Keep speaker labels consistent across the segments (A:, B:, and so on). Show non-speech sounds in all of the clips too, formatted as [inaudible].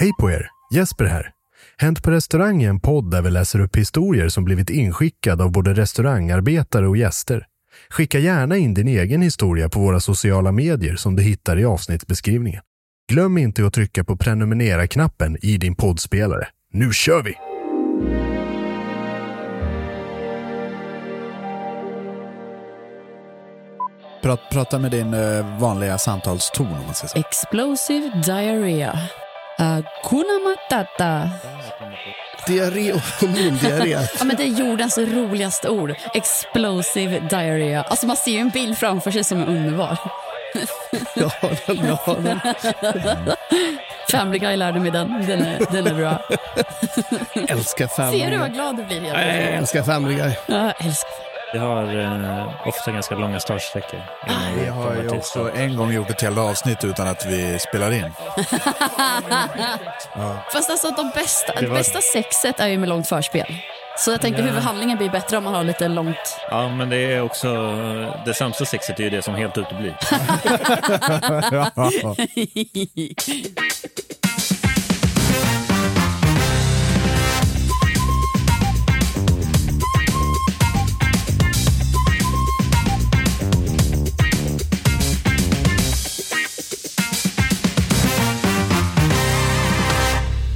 A: Hej på er! Jesper här. Hänt på restaurang är en podd där vi läser upp historier som blivit inskickade av både restaurangarbetare och gäster. Skicka gärna in din egen historia på våra sociala medier som du hittar i avsnittsbeskrivningen. Glöm inte att trycka på prenumerera-knappen i din poddspelare. Nu kör vi!
B: Pra- prata med din eh, vanliga samtalston om man ska
C: Alltså.
B: säga.
D: Explosive diarrhea. Hakuna matata.
C: Diarré och mundiarré.
D: [laughs] Ja, men det är jordens roligaste ord. Explosive diarrhea. Alltså man ser ju en bild framför sig som är underbar.
C: [laughs] Ja, den har den.
D: [laughs] Family Guy lärde mig den. Den är, den är bra.
C: Älskar Family
D: Ser du
C: Guy.
D: vad glad du blir?
C: Nej,
D: Hedvig?
C: Jag älskar Family Guy.
D: Ja, jag älskar.
E: Vi har eh, ofta ganska långa startsträckor. innan
B: Vi har
E: kommer
B: ju
E: till
B: också
E: start.
B: en gång gjort ett helt avsnitt utan att vi spelar
C: [laughs]
B: in.
D: Fast alltså de bästa,
E: Det
D: det
E: var-
D: bästa sexet är ju med långt förspel. Så jag tänkte huvudhandlingen blir bättre om man har lite långt...
E: Ja, men det är också... Det sämsta sexet är ju det som helt uteblir.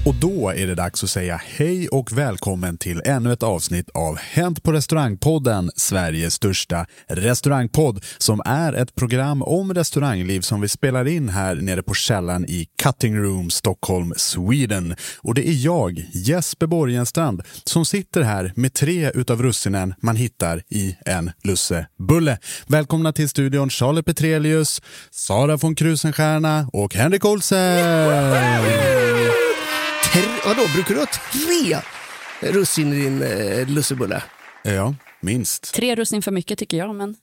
B: Och då är det dags att säga hej och välkommen till ännu ett avsnitt av Hänt på restaurangpodden, Sveriges största restaurangpodd, som är ett program om restaurangliv som vi spelar in här nere på källaren i Cutting Room, Stockholm, Sweden. Och det är jag, Jesper Borgenstrand, som sitter här med tre utav russinen man hittar i en lussebulle. Välkomna till studion Charlie Petrelius, Sara von Krusenstjerna och Henrik Olsen!
C: Tre- Vadå, brukar du ha tre russin i din eh, lussebulle?
B: Ja, minst.
D: Tre russin för mycket tycker jag, men...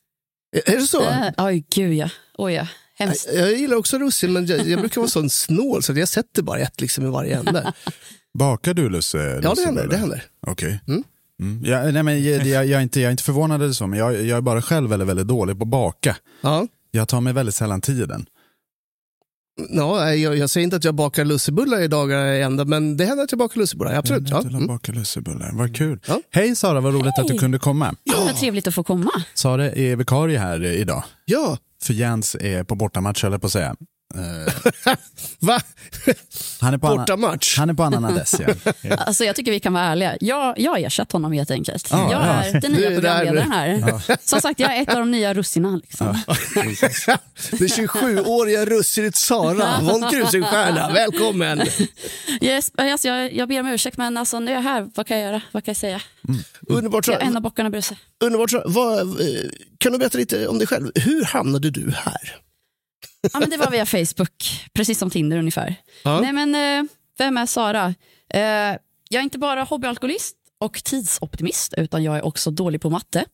C: Ä- Är det så?
D: Äh, Oj, gud ja. Oj ja. Hemskt.
C: Jag gillar också russin, men jag, jag brukar vara sån snål så att jag sätter bara ett liksom, i varje ände.
B: [laughs] Bakar du lusse?
C: Ja, det
B: lussebullar?
C: händer. Det händer.
B: Okej.
C: Mm.
B: Mm. Ja, nej, men jag, jag, jag, är inte, jag är inte förvånad eller så, men jag, jag är bara själv väldigt, väldigt dålig på att baka.
C: Ja.
B: Jag tar mig väldigt sällan tiden.
C: Ja, nej, jag, jag säger inte att jag bakar lussebullar i dagar i ända, men det händer att jag bakar lussebullar. Absolut. Ja.
B: Jag vill
C: Mm.
B: baka lussebullar, vad kul.
C: Ja.
B: Hej Sara, vad roligt att du
D: Hej.
B: kunde komma.
D: Ja. Vad trevligt att få komma.
B: Sara är vikarie här eh, idag,
C: ja,
B: för Jens är på bortamatch höll jag på att säga.
C: Va?
B: Han är på
C: Bortamatch?
B: Han är på Ananades,
C: [laughs]
B: ja.
D: Alltså, jag tycker vi kan vara ärliga. Jag, jag har ersatt honom helt enkelt.
B: Ja,
D: jag
B: ja.
D: är den
C: Du
D: nya
C: är där
D: programledaren
C: nu.
D: här. Som sagt, jag är ett av de nya russinen. Liksom.
C: Det 27-åriga russinet Sara von Krusenstjerna, välkommen!
D: Yes, alltså, jag, jag ber om ursäkt, men alltså, nu är jag här. Vad kan jag göra? Vad kan jag säga?
C: Mm. Underbart,
D: Jag är en
C: Sara.
D: av bockarna Bruse.
C: Underbart Sara. Vad, eh, kan du berätta lite om dig själv? Hur hamnade du här?
D: Ja, men det var via Facebook, precis som Tinder ungefär.
C: Ja.
D: Nej, men, eh, vem är Sara? Eh, jag är inte bara hobbyalkoholist och tidsoptimist, utan jag är också dålig på matte.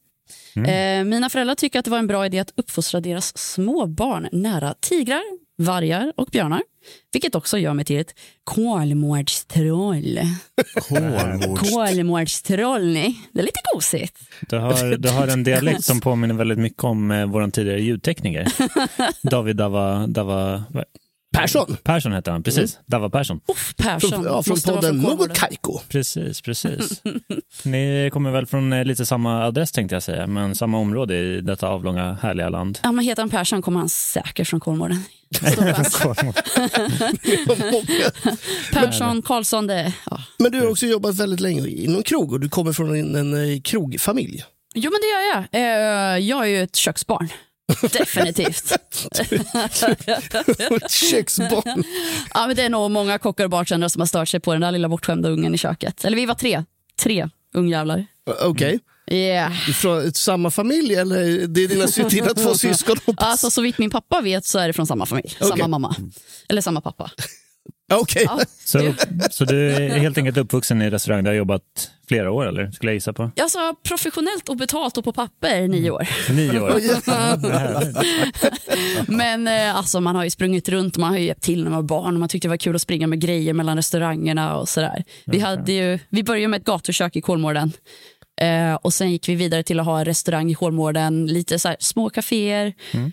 E: Mm.
D: Eh, mina föräldrar tycker att det var en bra idé att uppfostra deras små barn nära tigrar, vargar och björnar. Vilket också gör mig till ett kolmårdstroll.
B: Kolmårds.
D: Kolmårdstroll, ni. Det är lite gosigt. [laughs]
E: Du har, du har en dialekt som påminner väldigt mycket om eh, vår tidigare ljudtekniker.
D: [laughs]
E: David Dava, Dava vad-
C: Persson?
E: Persson hette han, precis. Dava Persson.
D: Mm. Uff, Persson.
C: Från, ja, från
D: Måste vara
C: podden Något
D: Kolmården.
C: Kaiko.
D: [laughs]
E: Precis, precis. Ni kommer väl från eh, lite samma adress tänkte jag säga, men samma område i detta avlånga härliga land.
D: Ja, men heter han Persson kommer han säkert från
E: [laughs]
D: Kolmården. Stor chans. Persson, Karlsson, det... Ja.
C: Men du har också jobbat väldigt länge inom krog och du kommer från en, en eh, krogfamilj.
D: Jo, men det gör jag. Eh, jag är ju ett
E: [laughs]
D: köksbarn. Definitivt.
C: Ett Köksbarn.
D: ja, men det är nog många kockar och bartendrar som har stört sig på den där lilla bortskämda ungen i köket. Eller vi var tre. Tre ungjävlar.
C: [laughs] Okej.
D: Yeah.
C: Från samma familj eller? Det är dina, sy- dina två [laughs] syskon hoppas
D: Alltså, så vitt min pappa vet så är det från samma familj.
C: Okej.
D: Samma mamma. Eller samma pappa.
C: Okej.
D: Ja.
E: Så, [laughs] så du är helt enkelt uppvuxen i restaurang, du har jobbat flera år eller? Skulle jag gissa på? Mm.
D: Jag sa professionellt obetalt och på papper i nio år. [laughs]
E: Nio år?
D: Men eh, alltså, man har ju sprungit runt, man har ju hjälpt till när man var barn och man tyckte det var kul att springa med grejer mellan restaurangerna och sådär. Vi, hade ju, vi började med ett gatukök i Kolmården eh, och sen gick vi vidare till att ha en restaurang i Kolmården, lite så här, små kaféer
C: Mm.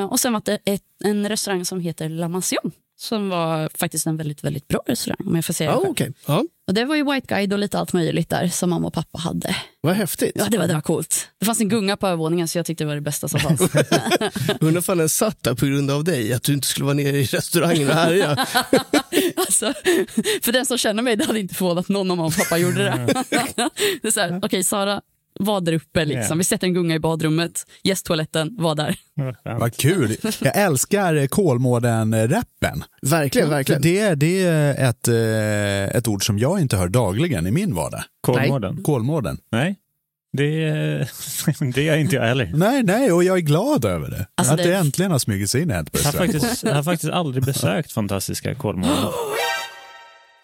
D: eh, och sen var det ett, en restaurang som heter La Mansion som var faktiskt en väldigt, väldigt bra restaurang om jag får säga det
C: Ja,
D: själv.
C: Ah, okej. Ja.
D: Och det var ju White Guide och lite allt möjligt där som mamma och pappa hade.
C: Vad häftigt.
D: Ja, det var, det var coolt. Det fanns en gunga på övervåningen så jag tyckte det var det bästa som fanns.
C: [laughs] Undrar ifall den satt där på grund av dig, att du inte skulle vara nere i restaurangen och härja.
D: [laughs] Alltså, för den som känner mig, det hade inte förvånat någon om mamma och pappa gjorde det.
E: Mm.
D: [laughs] det är så här, okej, Sara var där uppe, liksom. vi sätter en gunga i badrummet, gästtoaletten var där.
B: Vad kul. Jag älskar Kolmården-rappen.
C: Verkligen, verkligen.
B: Det, är- det är ett, eh, ett ord som jag inte hör dagligen i min vardag.
E: Kolmården?
B: Kolmården.
E: Nej. Det, [laughs] det är inte jag heller.
B: Nej, nej, och jag är glad över det.
D: Alltså,
B: att det,
D: det-
B: äntligen har smugit sig in ett på
E: Jag har
B: restaurang.
E: faktiskt, jag har faktiskt aldrig besökt fantastiska Kolmården.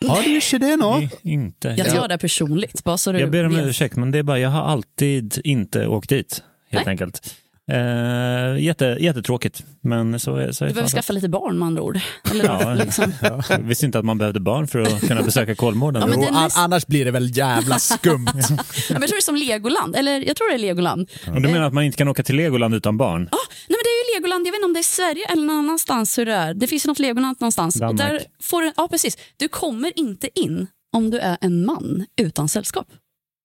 B: Har du inte det nå?
E: I- Inte.
D: Jag tar
E: Jag,
D: det personligt, bara så du
E: jag ber om
D: vet.
E: ursäkt, men det är bara, jag har alltid inte åkt dit, helt enkelt. Eh, jätte, jättetråkigt, men så är, så är
D: Du behöver skaffa lite barn med
E: [laughs]
D: andra ord. Eller,
E: Ja,
D: liksom.
E: ja. Jag visste inte att man behövde barn för att kunna besöka Kolmården.
D: Ja, men
B: Jo,
D: det är
B: an-
D: näst-
B: annars blir det väl
D: [laughs]
B: jävla skumt.
D: Ja, men jag tror det är som Legoland, eller jag tror det är Legoland.
E: Och Du menar att man inte kan åka till Legoland utan barn?
D: Ah, nej, men det är ju Legoland, jag vet inte om det är Sverige eller någon annanstans hur det är. Det finns ju något Legoland någonstans.
E: Danmark.
D: Och där får du, ja, precis. Du kommer inte in om du är en man utan sällskap.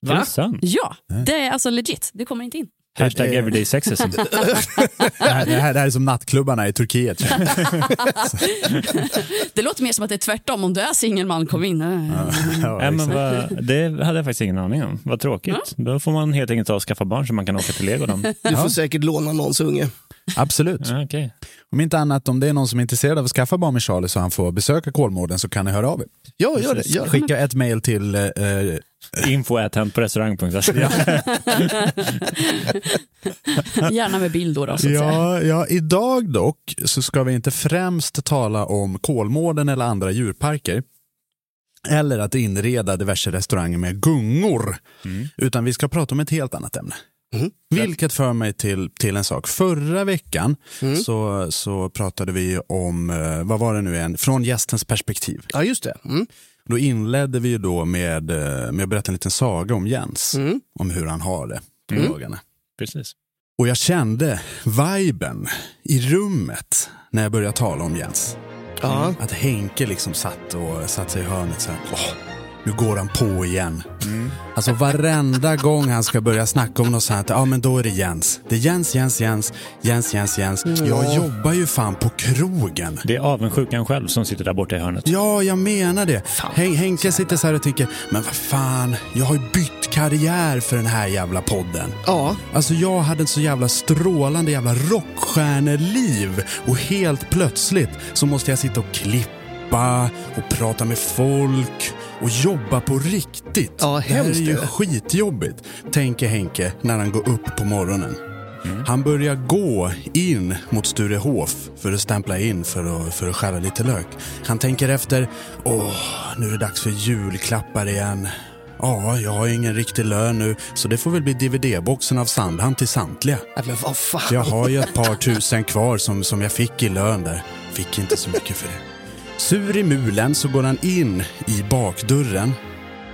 E: Va? Är det sant?
D: Ja, det är alltså legit. Du kommer inte in.
E: [laughs] Hashtag everyday sexism.
B: Det här, det, här, det här är som nattklubbarna i Turkiet.
D: [laughs] Det låter mer som att det är tvärtom. Om du är singel man, kom in.
E: Nej, men vad, det hade jag faktiskt ingen aning om. Vad tråkigt. Då får man helt enkelt ta och skaffa barn så man kan åka till Legoland.
D: [laughs]
C: Du får säkert låna någons unge.
B: Absolut.
E: Ja, okej.
B: Om inte annat, om det är någon som är intresserad av att skaffa barn med Charlie så han får besöka Kolmården så kan ni höra av er.
C: Ja, gör det. Gör det.
B: Skicka ett mejl till eh, eh,
E: Info at hand på restaurang.se.
D: [laughs] Gärna med bild då. då så att säga.
B: Ja, ja, idag dock så ska vi inte främst tala om Kolmården eller andra djurparker eller att inreda diverse restauranger med gungor,
C: Mm.
B: utan vi ska prata om ett helt annat ämne. Vilket för mig till, till en sak. Förra veckan
C: Mm.
B: så, så pratade vi om, eh, vad var det nu igen, från gästens perspektiv.
C: Ja, just det. Mm.
B: Då inledde vi ju då med, eh, med att berätta en liten saga om Jens,
C: Mm.
B: om hur han har det på dagarna.
E: Precis.
B: Och jag kände viben i rummet när jag började tala om Jens.
C: Ja.
B: Att Henke liksom satt och satt sig i hörnet så här. Åh, nu går han på igen. Alltså varenda gång han ska börja snacka om något sånt, ja men då är det Jens. Det är Jens, Jens, Jens, Jens, Jens, Jens. Jag jobbar ju fan på krogen.
E: Det är avundsjukan själv som sitter där borta i hörnet.
B: Ja, jag menar det. Hen Henke sitter så här och tänker, men vad fan, jag har ju bytt karriär för den här jävla podden.
C: Ja,
B: Alltså jag hade ett så jävla strålande jävla rockstjärneliv och helt plötsligt så måste jag sitta och klippa och prata med folk och jobba på riktigt.
C: Ja,
B: det här är
C: hemskt
B: ju
C: är det.
B: skitjobbigt, tänker Henke när han går upp på morgonen. Han börjar gå in mot Sturehof för att stämpla in för att, för att skära lite lök. Han tänker efter, åh, nu är det dags för julklappar igen. Ja, jag har ingen riktig lön nu, så det får väl bli DVD-boxen av Sandhamn till samtliga.
C: Nej, men vad fan.
B: Jag har ju ett par tusen kvar som, som jag fick i lön där. Fick inte så mycket för det. Sur i mulen så går han in i bakdörren.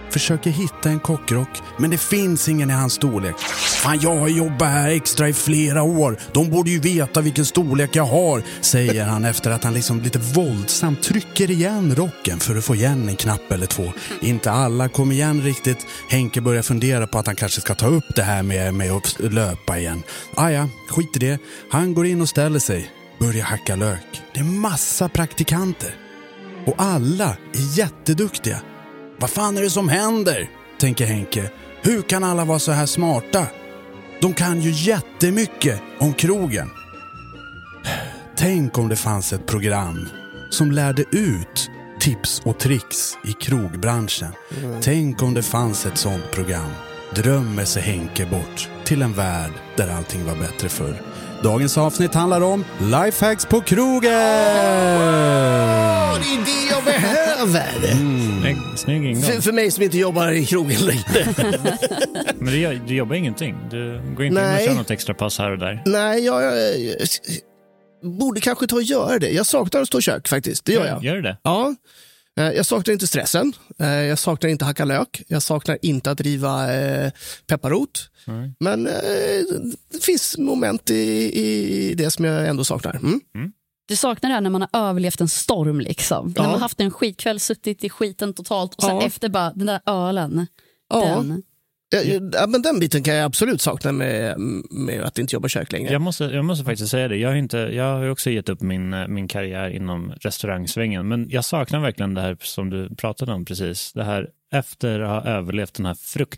B: Försöker hitta en kockrock, men det finns ingen i hans storlek. Fan, jag har jobbat här extra i flera år. De borde ju veta vilken storlek jag har, säger han efter att han liksom lite våldsamt trycker igen rocken för att få igen en knapp eller två. Inte alla kom igen riktigt. Henke börjar fundera på att han kanske ska ta upp det här med, med att löpa igen. Ah, ja, skit i det. Han går in och ställer sig. Börjar hacka lök. Det är massa praktikanter. Och alla är jätteduktiga. Vad fan är det som händer? Tänker Henke. Hur kan alla vara så här smarta? De kan ju jättemycket om krogen. Tänk om det fanns ett program som lärde ut tips och tricks i krogbranschen.
C: Mm.
B: Tänk om det fanns ett sånt program. Drömmer sig Henke bort till en värld där allting var bättre förr. Dagens avsnitt handlar om lifehacks på krogen!
C: Ja, det är det jag behöver.
E: Snygg, Mm. snygg ingång.
C: För, för mig som inte jobbar i krogen längre.
E: Men du, gör- du jobbar ingenting. Du går inte in
C: Nej.
E: och kör något extra pass här och där.
C: Nej, jag, jag, jag borde kanske ta och göra det. Jag saknar att stå i kök faktiskt. Det gör jag.
E: Gör du det?
C: Ja. Eh, Jag saknar inte stressen. Eh, Jag saknar inte hacka lök. Jag saknar inte att riva eh, pepparrot. Men eh, det finns moment i, i det som jag ändå saknar. Mm.
D: Du saknar det här när man har överlevt en storm. liksom. När
C: Ja.
D: man har haft en skitkväll, suttit i skiten totalt och sen
C: Ja.
D: efter bara den där ölen.
C: Ja.
D: Den.
C: Jag- jag- Ja, men den biten kan jag absolut sakna med, med att inte jobba i kök längre.
E: Jag måste, jag måste faktiskt säga det. Jag har, inte, jag har ju också gett upp min, eh, min karriär inom restaurangsvängen. Men jag saknar verkligen det här som du pratade om precis. Det här efter att ha överlevt den här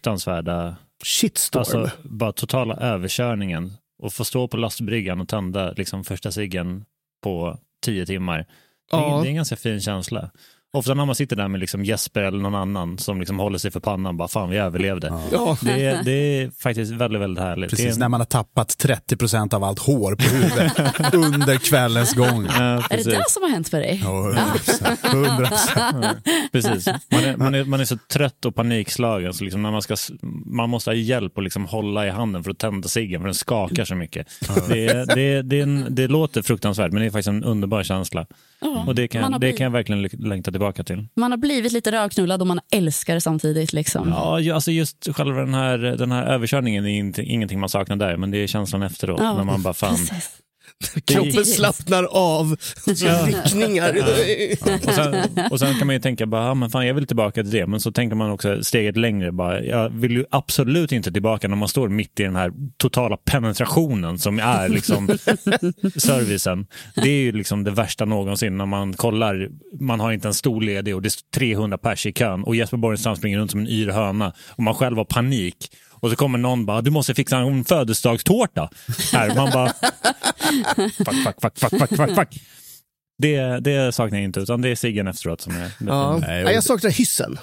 E: fruktansvärda,
C: Shitstorm.
E: alltså bara totala överkörningen och få stå på lastbryggan och tända liksom första ciggen på tio timmar. Det är,
C: Ja.
E: det är en ganska fin känsla. Ofta när man sitter där med liksom Jesper eller någon annan som liksom håller sig för pannan, bara fan vi överlevde.
C: ja.
E: Det, är, det är faktiskt väldigt, väldigt härligt. det är
B: Precis,
E: en-
B: när man har tappat 30% av allt hår på
C: [laughs]
B: huvudet under kvällens gång.
E: Ja,
D: Är det
E: precis.
D: det som har hänt för dig?
B: Ja, 100%. 100%.
E: [laughs] Precis. Man är, man, är, man är så trött och panikslagen. Så liksom när man, ska, s- man måste ha hjälp att liksom hålla i handen för att tända ciggen för den skakar så mycket. Det, är- det, är- det, är en, det låter fruktansvärt men det är faktiskt en underbar känsla.
D: Ja.
E: Och det kan,
D: Man har
E: jag- det
D: blivit-
E: kan jag verkligen lä- längta tillbaka till.
D: Man har blivit lite rödknullad och man älskar det samtidigt. Liksom.
E: Ja, ju- alltså just själva den här, den här överkörningen är inte, ingenting man saknar där men det är känslan efteråt
D: Ja.
E: när man bara fan.
D: Precis.
C: Kroppen
D: Precis.
C: slappnar av. Ryckningar.
E: Och sen, och sen kan man ju tänka bara, ah, men fan, jag vill tillbaka till det. Men så tänker man också steget längre. Bara, jag vill ju absolut inte tillbaka när man står mitt i den här totala penetrationen som är liksom servicen. Det är ju liksom det värsta någonsin när man kollar. Man har inte en stor ledig och det står 300 pers i kön och Jesper Borgenstrand springer runt som en yr höna och man själv har panik. Och så kommer någon bara, du måste fixa en födelsedagstårta. Här, man bara, fuck, fuck, fuck, fuck, fuck, fuck, fuck. Det, det saknar jag inte, utan det är ciggen efteråt som är...
C: Ja.
B: Nej,
C: Ja, jag saknar hyssen.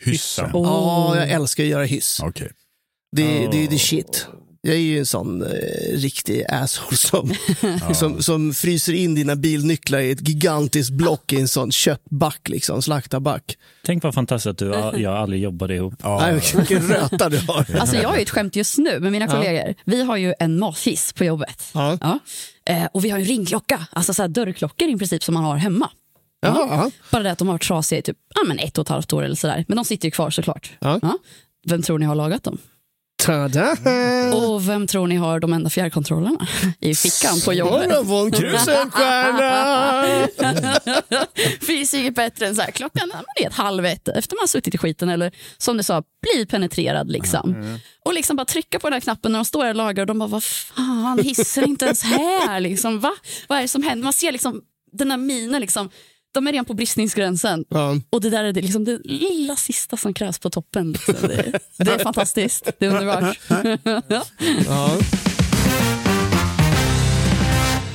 B: Hyssen. Oh.
D: Åh.
C: Ja, jag älskar att göra hyss.
B: Okej.
C: Det, det är the shit. Jag är ju en sån eh, riktig asshole som, som, som fryser in dina bilnycklar i ett gigantiskt block i en sån köttback, liksom, slaktarback.
E: Tänk vad fantastiskt att du och jag aldrig jobbade ihop.
B: Ja.
C: Nej, vilken röta du har.
D: Alltså jag har ju ett skämt just nu med mina kollegor. Vi har ju en mathiss på jobbet.
C: Ja.
D: Eh, och vi har ju en ringklocka, alltså så här dörrklockor i princip som man har hemma.
C: Ja, ja.
D: Bara det att de har varit trasiga i typ ja, men ett och ett halvt år eller sådär. Men de sitter ju kvar såklart.
C: Ja.
D: Vem tror ni har lagat dem?
C: Tada!
D: Och vem tror ni har de enda fjärrkontrollerna [laughs] i fickan på jobbet?
C: Bara von Krusenstjerna!
D: finns inget bättre än så här, klockan ja, men det är ett halv ett efter man har suttit i skiten eller som du sa, bli penetrerad. liksom.
E: Mm,
D: Och liksom bara trycka på den här knappen när de står där och lagar och de bara, vad fan, hissen är inte ens här. Liksom, va? Vad är det som händer? Man ser liksom den där minen, liksom, de är redan på bristningsgränsen.
C: Ja.
D: Och det där är det, liksom, det lilla sista som krävs på
C: [laughs]
D: toppen. Liksom. Det, det är fantastiskt, det är underbart.
C: Ja.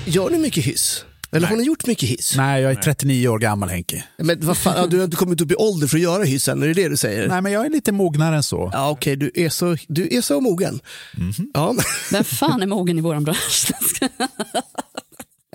C: Gör ni mycket hiss? Eller har ni gjort mycket hiss?
B: Nej, jag är 39 år gammal Henke.
C: Men vad fan, ja, du har inte kommit upp i ålder för att göra hiss än, är det det du säger?
B: Nej, men jag är lite mognare än så.
C: Ja, okej, du, är så, du är så mogen. Ja.
D: Vem fan är mogen i vår bransch?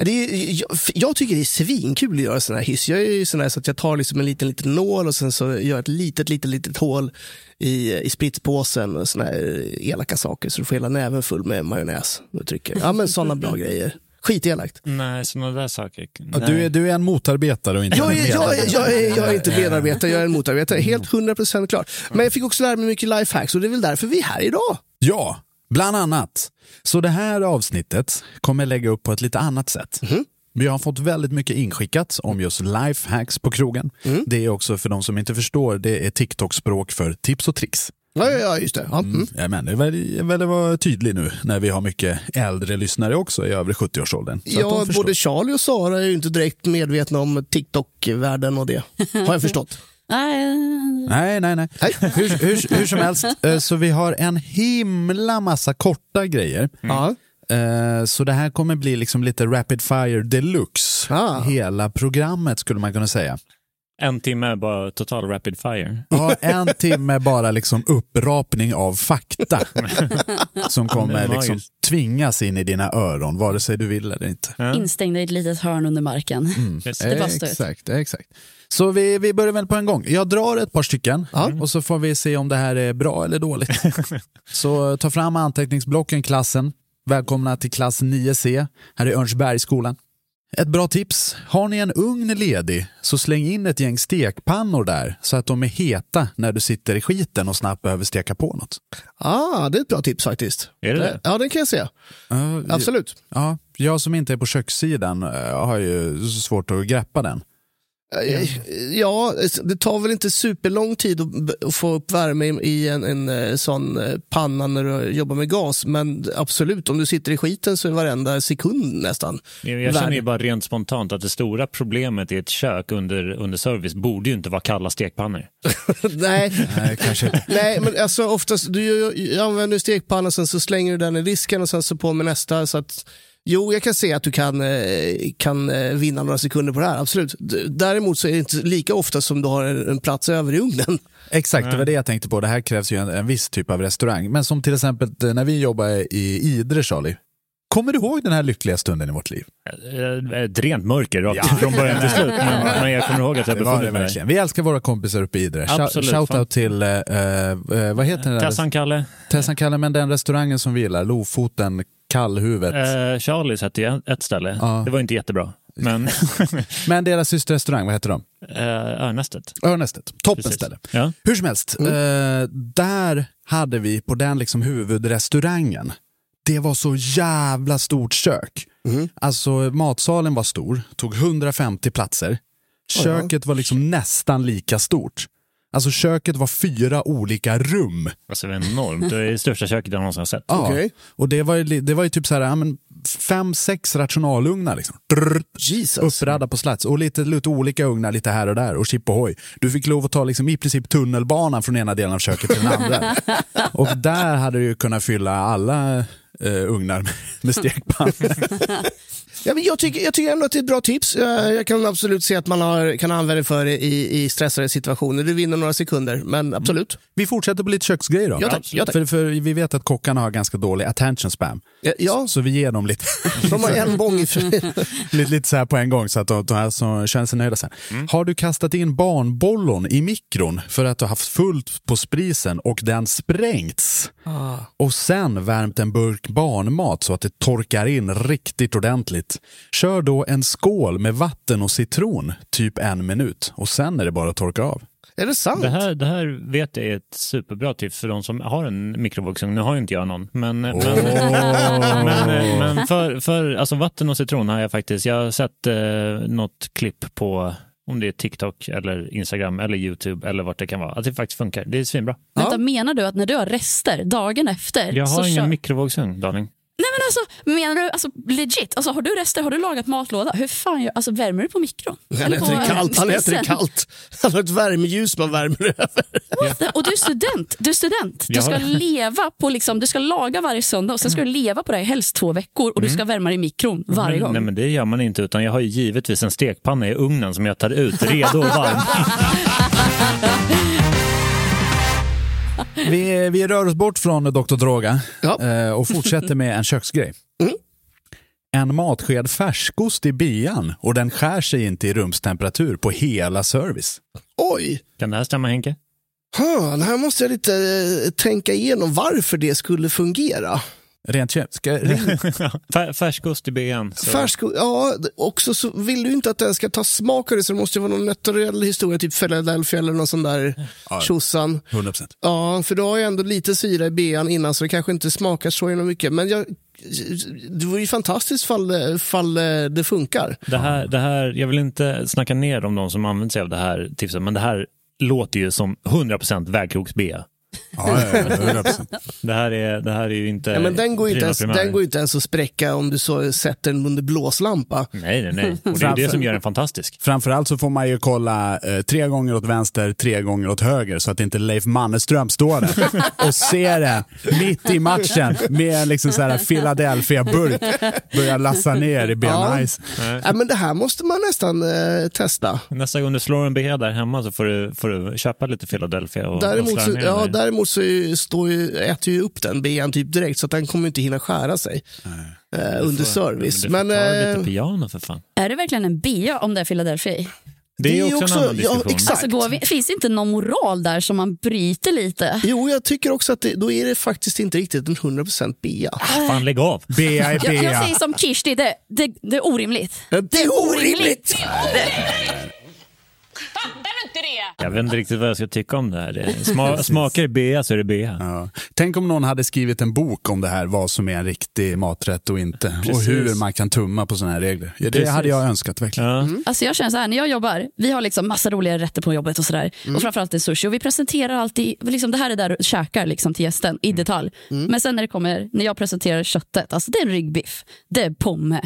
C: Det är, jag, jag tycker det är svinkul att göra sådana här hiss. Jag är ju sån här så att jag tar liksom en liten, liten nål och sen så gör jag ett litet, litet, litet hål i, i spritspåsen och såna här elaka saker så du får hela näven full med majonnäs. Och trycker. Ja men
B: [laughs]
C: sådana bra grejer. Skitelakt.
E: Nej, sådana där saker.
B: Ja, Du är, du är en motarbetare och inte
C: Jag är,
B: en
C: jag,
B: medarbetare.
C: är, jag, är, jag är inte medarbetare, jag är en motarbetare. Helt 100% klart.
E: Mm.
C: Men jag fick också lära mig mycket lifehacks och det är väl därför vi är här idag.
B: Ja, bland annat. Så det här avsnittet kommer jag lägga upp på ett lite annat sätt.
C: Mhm.
B: Vi har fått väldigt mycket inskickat om just lifehacks på krogen.
C: Mhm.
B: Det är också, för de som inte förstår, det är TikTok-språk för tips och tricks.
C: Ja, ja, ja just det. Ja, mm.
B: Ja, men det är väl, jag vill vara tydlig nu när vi har mycket äldre lyssnare också i över 70-årsåldern. Så att
C: Ja,
B: de förstår.
C: både Charlie och Sara är ju inte direkt medvetna om TikTok-världen och det. Har jag förstått.
D: Nej,
B: Nej, nej, nej.
C: Nej.
B: Hur, hur, hur som
C: [laughs]
B: helst, eh, så vi har en himla massa korta grejer.
C: Mm. Ja.
B: Eh, Så det här kommer bli liksom lite rapid fire deluxe.
C: Ah.
B: Hela programmet skulle man kunna säga.
E: En timme bara total rapid fire.
B: Ja,
C: [laughs]
B: en timme bara liksom upprapning av fakta som
E: Det
B: kommer
E: är magiskt.
B: liksom tvingas in i dina öron, vare sig du vill eller inte.
D: instängda i ett litet hörn under marken.
B: Mm.
D: Det
B: Eh.
D: bara står ut.
B: Exakt, exakt. Så vi, vi börjar väl på en gång. Jag drar ett par stycken och så får vi se om det här är bra eller dåligt. så eh, ta fram anteckningsblocken, klassen. Välkomna till klass 9C. Här är Örnsbergsskolan. Ett bra tips. Har ni en ugn ledig så släng in ett gäng stekpannor där så att de är heta när du sitter i skiten och snabbt behöver steka på något.
C: Ah, det är ett bra tips faktiskt.
E: [laughs] Är det det?
C: Ja, den kan jag se. Absolut.
B: Ja, jag som inte är på kökssidan eh, har ju svårt att greppa den.
C: Eh, Ja, det tar väl inte superlång tid att b- att få upp värme i- i en, en eh, sån eh, panna när du jobbar med gas. Men absolut, om du sitter i skiten så är varenda sekund nästan.
E: Jag känner
C: värd-
E: ju bara rent spontant att det stora problemet i ett kök under, under service borde ju inte vara kalla stekpannor.
C: [laughs] Nej,
B: [laughs] Nej, kanske.
C: Nej, men alltså oftast, du gör ju- använder ju stekpannan sen så slänger du den i disken och sen så på med nästa. Så att, jo, jag kan se att du kan, eh, kan eh, vinna några sekunder på det här, absolut. D- Däremot så är det inte lika ofta som du har en en plats över i ugnen.
B: Exakt, det var det jag tänkte på. Det här krävs ju en, en viss typ av restaurang. Men som till exempel eh, när vi jobbade i Idre, Charlie. Kommer du ihåg den här lyckliga stunden i vårt liv?
E: Eh, Ett rent mörker rakt [laughs] från början till slut. Men, men jag kommer ihåg att jag
B: Det var
E: befunnit
B: det
E: mig där.
B: verkligen. Vi älskar våra kompisar uppe i Idre.
E: Absolut, fan.
B: Shoutout till, eh, eh, vad heter den? där-
E: Tessan, Kalle.
B: Tessan Kalle, men den restaurangen som vi gillar, Lofoten, Kallhuvudet.
E: Eh, Charlies hette ju ett ställe.
B: Ja.
E: Det var inte jättebra.
B: [laughs]
E: Men
B: Men deras systerrestaurang, vad heter de?
E: eh, Örnästet.
B: Örnästet. Toppen
E: Precis.
B: ställe.
E: Ja.
B: Hur som helst, eh, där hade vi på den liksom huvudrestaurangen, det var så jävla stort kök. Alltså matsalen var stor, tog 150 platser. Köket var liksom nästan lika stort. Alltså köket var fyra olika rum.
E: Alltså det var enormt. Det är det största köket jag någonsin har sett.
B: Ja.
C: Okej.
B: Och det var ju, li- det var ju typ så här, ja, men fem, sex rationalugnar liksom. Drrrt.
C: Jesus.
B: Uppradda på slats och lite, lite olika ugnar lite här och där och chip och hoj. Du fick lov att ta liksom i princip tunnelbanan från ena delen av köket till den
C: [laughs]
B: andra. och där hade du ju kunnat fylla alla eh, ugnar med, med stekpannor.
C: Ja, men jag, tycker, jag tycker ändå att det är ett bra tips. Eh, Jag, jag kan absolut se att man har, kan använda det för det i, i stressade situationer. Du vinner några sekunder, men absolut.
B: Vi fortsätter på lite köksgrejer då.
C: Ja, tack. Ja, tack.
B: För, för vi vet att kockarna har ganska dålig attention spam.
C: Ja, ja.
B: Så vi ger dem lite,
C: [laughs] de har en bång i
B: [laughs] lite, lite så här på en gång så att de, de här som känner sig nöjda sen.
C: Mm.
B: Har du kastat in barnbollon i mikron för att du har haft fullt på sprisen och den sprängts?
C: Ah.
B: och sen värmt en burk barnmat så att det torkar in riktigt ordentligt. Kör då en skål med vatten och citron, typ en minut, och sen är det bara att torka av.
C: Är det sant?
E: Det här, det här vet jag är ett superbra tips för de som har en mikrovågsugn. Nu har ju inte jag någon, men, men, men, eh, men för, för alltså vatten och citron har jag faktiskt. Jag har sett eh, något klipp på om det är TikTok eller Instagram eller YouTube eller vart det kan vara. Att det faktiskt funkar. Det är svinbra.
D: Vänta, menar du att när du har rester dagen efter
E: Jag
D: så
E: har
D: kör...
E: ingen mikrovågsugn, darling.
D: Nej men alltså, menar du alltså, legit? Alltså, har du rester, har du lagat matlåda? Hur fan gör... alltså, värmer du på mikron?
C: Han äter det kallt. Han äter det kallt. Han har ett värmeljus man värmer över.
D: Och du är student. Du, är student. du
E: Jag
D: ska
E: har-
D: leva på liksom, du ska laga varje söndag och sen ska du leva på det här helst två veckor och du ska värma det i mikron varje gång.
E: Nej men det gör man inte utan jag har ju givetvis en stekpanna i ugnen som jag tar ut redo och
D: [laughs]
E: varm.
B: Vi, vi rör oss bort från Dr. Droga
C: Ja.
B: eh, och fortsätter med en köksgrej.
C: Mm.
B: En matsked färskost i bian och den skär sig inte i rumstemperatur på hela service.
C: Oj!
E: Kan det här stämma Henke?
C: Huh, det här måste jag lite eh, tänka igenom varför det skulle fungera.
B: Rent kött. Ska, [laughs]
C: Mm.
B: ring,
E: Fär, färskost i ben. så-
C: Färsko, ja, d- också så vill du ju inte att den ska ta smak av det så det måste ju vara någon naturell historia, typ Philadelphia eller någon sån där tjosan.
B: 100%.
C: Ja, för du har ju ändå lite syra i bean innan så det kanske inte smakar så himla mycket. Men jag, det vore ju fantastiskt fall, det- fall eh, det funkar.
E: Det här, det här, jag vill inte snacka ner om de som använder sig av det här tipset, men det här låter ju som 100% vägkrogs-bea.
B: Ja, ja, ja, 100%.
E: Det här är, det här är ju inte...
C: Ja, men den går ju inte ens,
E: prima primaria.
C: den går ju inte ens att spräcka om du så sätter den under blåslampa.
E: Nej, nej, nej. Och det är ju det som gör den fantastisk.
B: Framförallt så får man ju kolla eh, tre gånger åt vänster, tre gånger åt höger så att inte Leif Mannerström står där
C: [laughs]
B: och ser det mitt i matchen med en liksom så här Philadelphia-burk börjar lassa ner i
C: Ja.
B: Ben Ice.
C: Ja, men det här måste man nästan eh, testa.
E: Nästa gång du slår en bea där hemma så får du, får du köpa lite Philadelphia och, och
C: Däremot
E: slå
C: så,
E: ner den
C: ja,
E: där.
C: däremot så är ju- står ju, äter ju upp den ben typ direkt så att den kommer inte hinna skära sig eh, under service.
E: Men
C: Men,
E: du får ta
C: eh,
E: lite piano för fan.
D: Är det verkligen en bia om det är Philadelphia i?
E: Det är ju också, en annan
C: ja,
E: diskussion.
C: exakt.
D: Alltså, går vi, finns det inte någon moral där som man bryter lite?
C: jo, jag tycker också att det, då är det faktiskt inte riktigt en 100% bea.
E: Ah, Fan, lägg av.
B: Bea i
D: Jag, jag
B: bea.
D: säger som Kirsti, det, det, det är orimligt.
C: Det är orimligt!
E: Jag vet inte riktigt vad jag ska tycka om det här. Det är- Sma, smakar det bea så är det bea.
B: Ja. Tänk om någon hade skrivit en bok om det här, vad som är en riktig maträtt och inte. Och
E: Precis.
B: hur man kan tumma på sådana här regler. Ja, det
E: Precis.
B: hade jag önskat verkligen. Mm.
E: Ja.
D: Alltså jag känner så här, när jag jobbar, vi har liksom massa roliga rätter på jobbet och sådär. Och framförallt är sushi. Och vi presenterar alltid, liksom, det här är där du käkar liksom, till gästen i detalj.
E: Mm.
D: Men sen när det kommer, när jag presenterar köttet, alltså det är en ryggbiff, det är pomme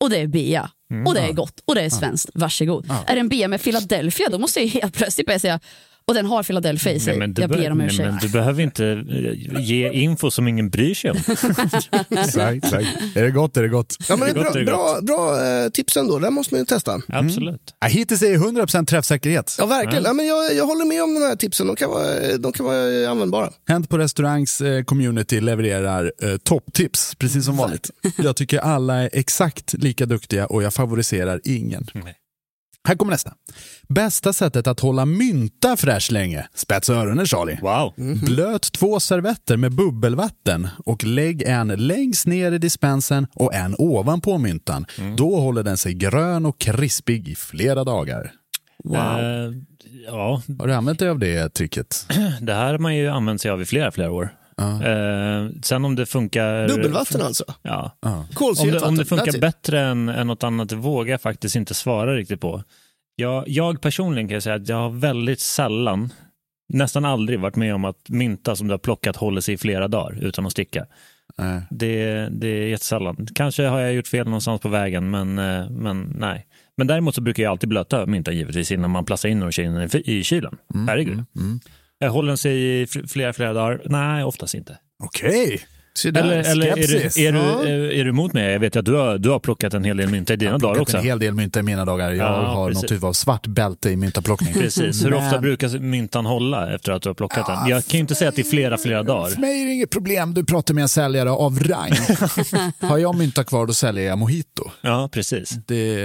D: och det är bea. Och det är gott och det är svenskt, varsågod. Är det en bea med Philadelphia, då måste jag ju helt plötsligt börja säga, och den har Philadelphia i sig.
E: Nej, men du
D: jag ber
E: be-
D: om
E: nej,
D: ursäkt.
E: men Du behöver inte eh, ge info som ingen
D: [laughs]
E: bryr sig om.
D: Mm.
B: Exakt, exakt. Är det gott är det gott.
C: Ja, men det
E: Det är
C: är
E: gott, det
C: bra,
E: är
C: bra, bra eh, tips ändå, det här måste man ju testa.
E: Absolut.
B: Ja, hittills är det 100% träffsäkerhet.
C: Ja, verkligen. Ja, men jag, jag håller med om de här tipsen, de kan vara, de kan vara användbara.
B: Hänt på restaurangs eh, community levererar eh, topptips, precis som vanligt. Jag tycker alla är exakt lika duktiga och jag favoriserar ingen.
E: Mm.
B: Här kommer nästa. Bästa sättet att hålla mynta fräsch länge. Spetsa öronen Charlie.
E: Wow.
C: Mhm.
B: Blöt två servetter med bubbelvatten och lägg en längst ner i dispensen och en ovanpå myntan.
E: Mm.
B: Då håller den sig grön och krispig i flera dagar.
E: Eh, ja,
B: Har du använt dig av det tricket?
E: det här har man ju använt sig av i flera, flera år. Eh, sen om det funkar...
C: Dubbelvatten alltså.
E: Ja. Om
C: Kolsyrat
E: det, om det
C: vatten. That's
E: funkar
C: it.
E: bättre än, än något annat det vågar jag faktiskt inte svara riktigt på. Jag, jag personligen kan jag säga att jag har väldigt sällan, nästan aldrig varit med om att mynta som du har plockat håller sig i flera dagar utan att sticka.
B: Nej.
E: Det, det är jättesällan. Kanske har jag gjort fel någonstans på vägen, men, eh, men nej. Men däremot så brukar jag alltid blöta myntan givetvis innan man plastar in den och kör in den i- i kylen.
C: Mm,
E: Herregud. Jag håller den sig i fl- flera, flera dagar? Nej, oftast inte.
B: Okej. Äh,
C: Se där.
E: Eller, eller är,
B: skepsis.
E: du, är,
C: Ja.
E: du, eh, är du emot mig? Jag vet att du har, du har plockat en hel del mynta i dina dagar
B: plockat
E: också.
B: en hel del mynta i mina dagar. Jag
E: Ja,
B: har någon
E: precis.
B: typ av svart bälte i myntaplockning.
E: Precis. Hur ofta
B: Men-
E: brukar myntan hålla efter att du har plockat den? Jag kan ju inte säga att det är flera, flera dagar.
B: För mig är det inget problem, du pratar med en säljare av
E: [laughs]
B: rang. har jag mynta kvar då säljer jag mojito.
E: Ja, precis.
B: Det,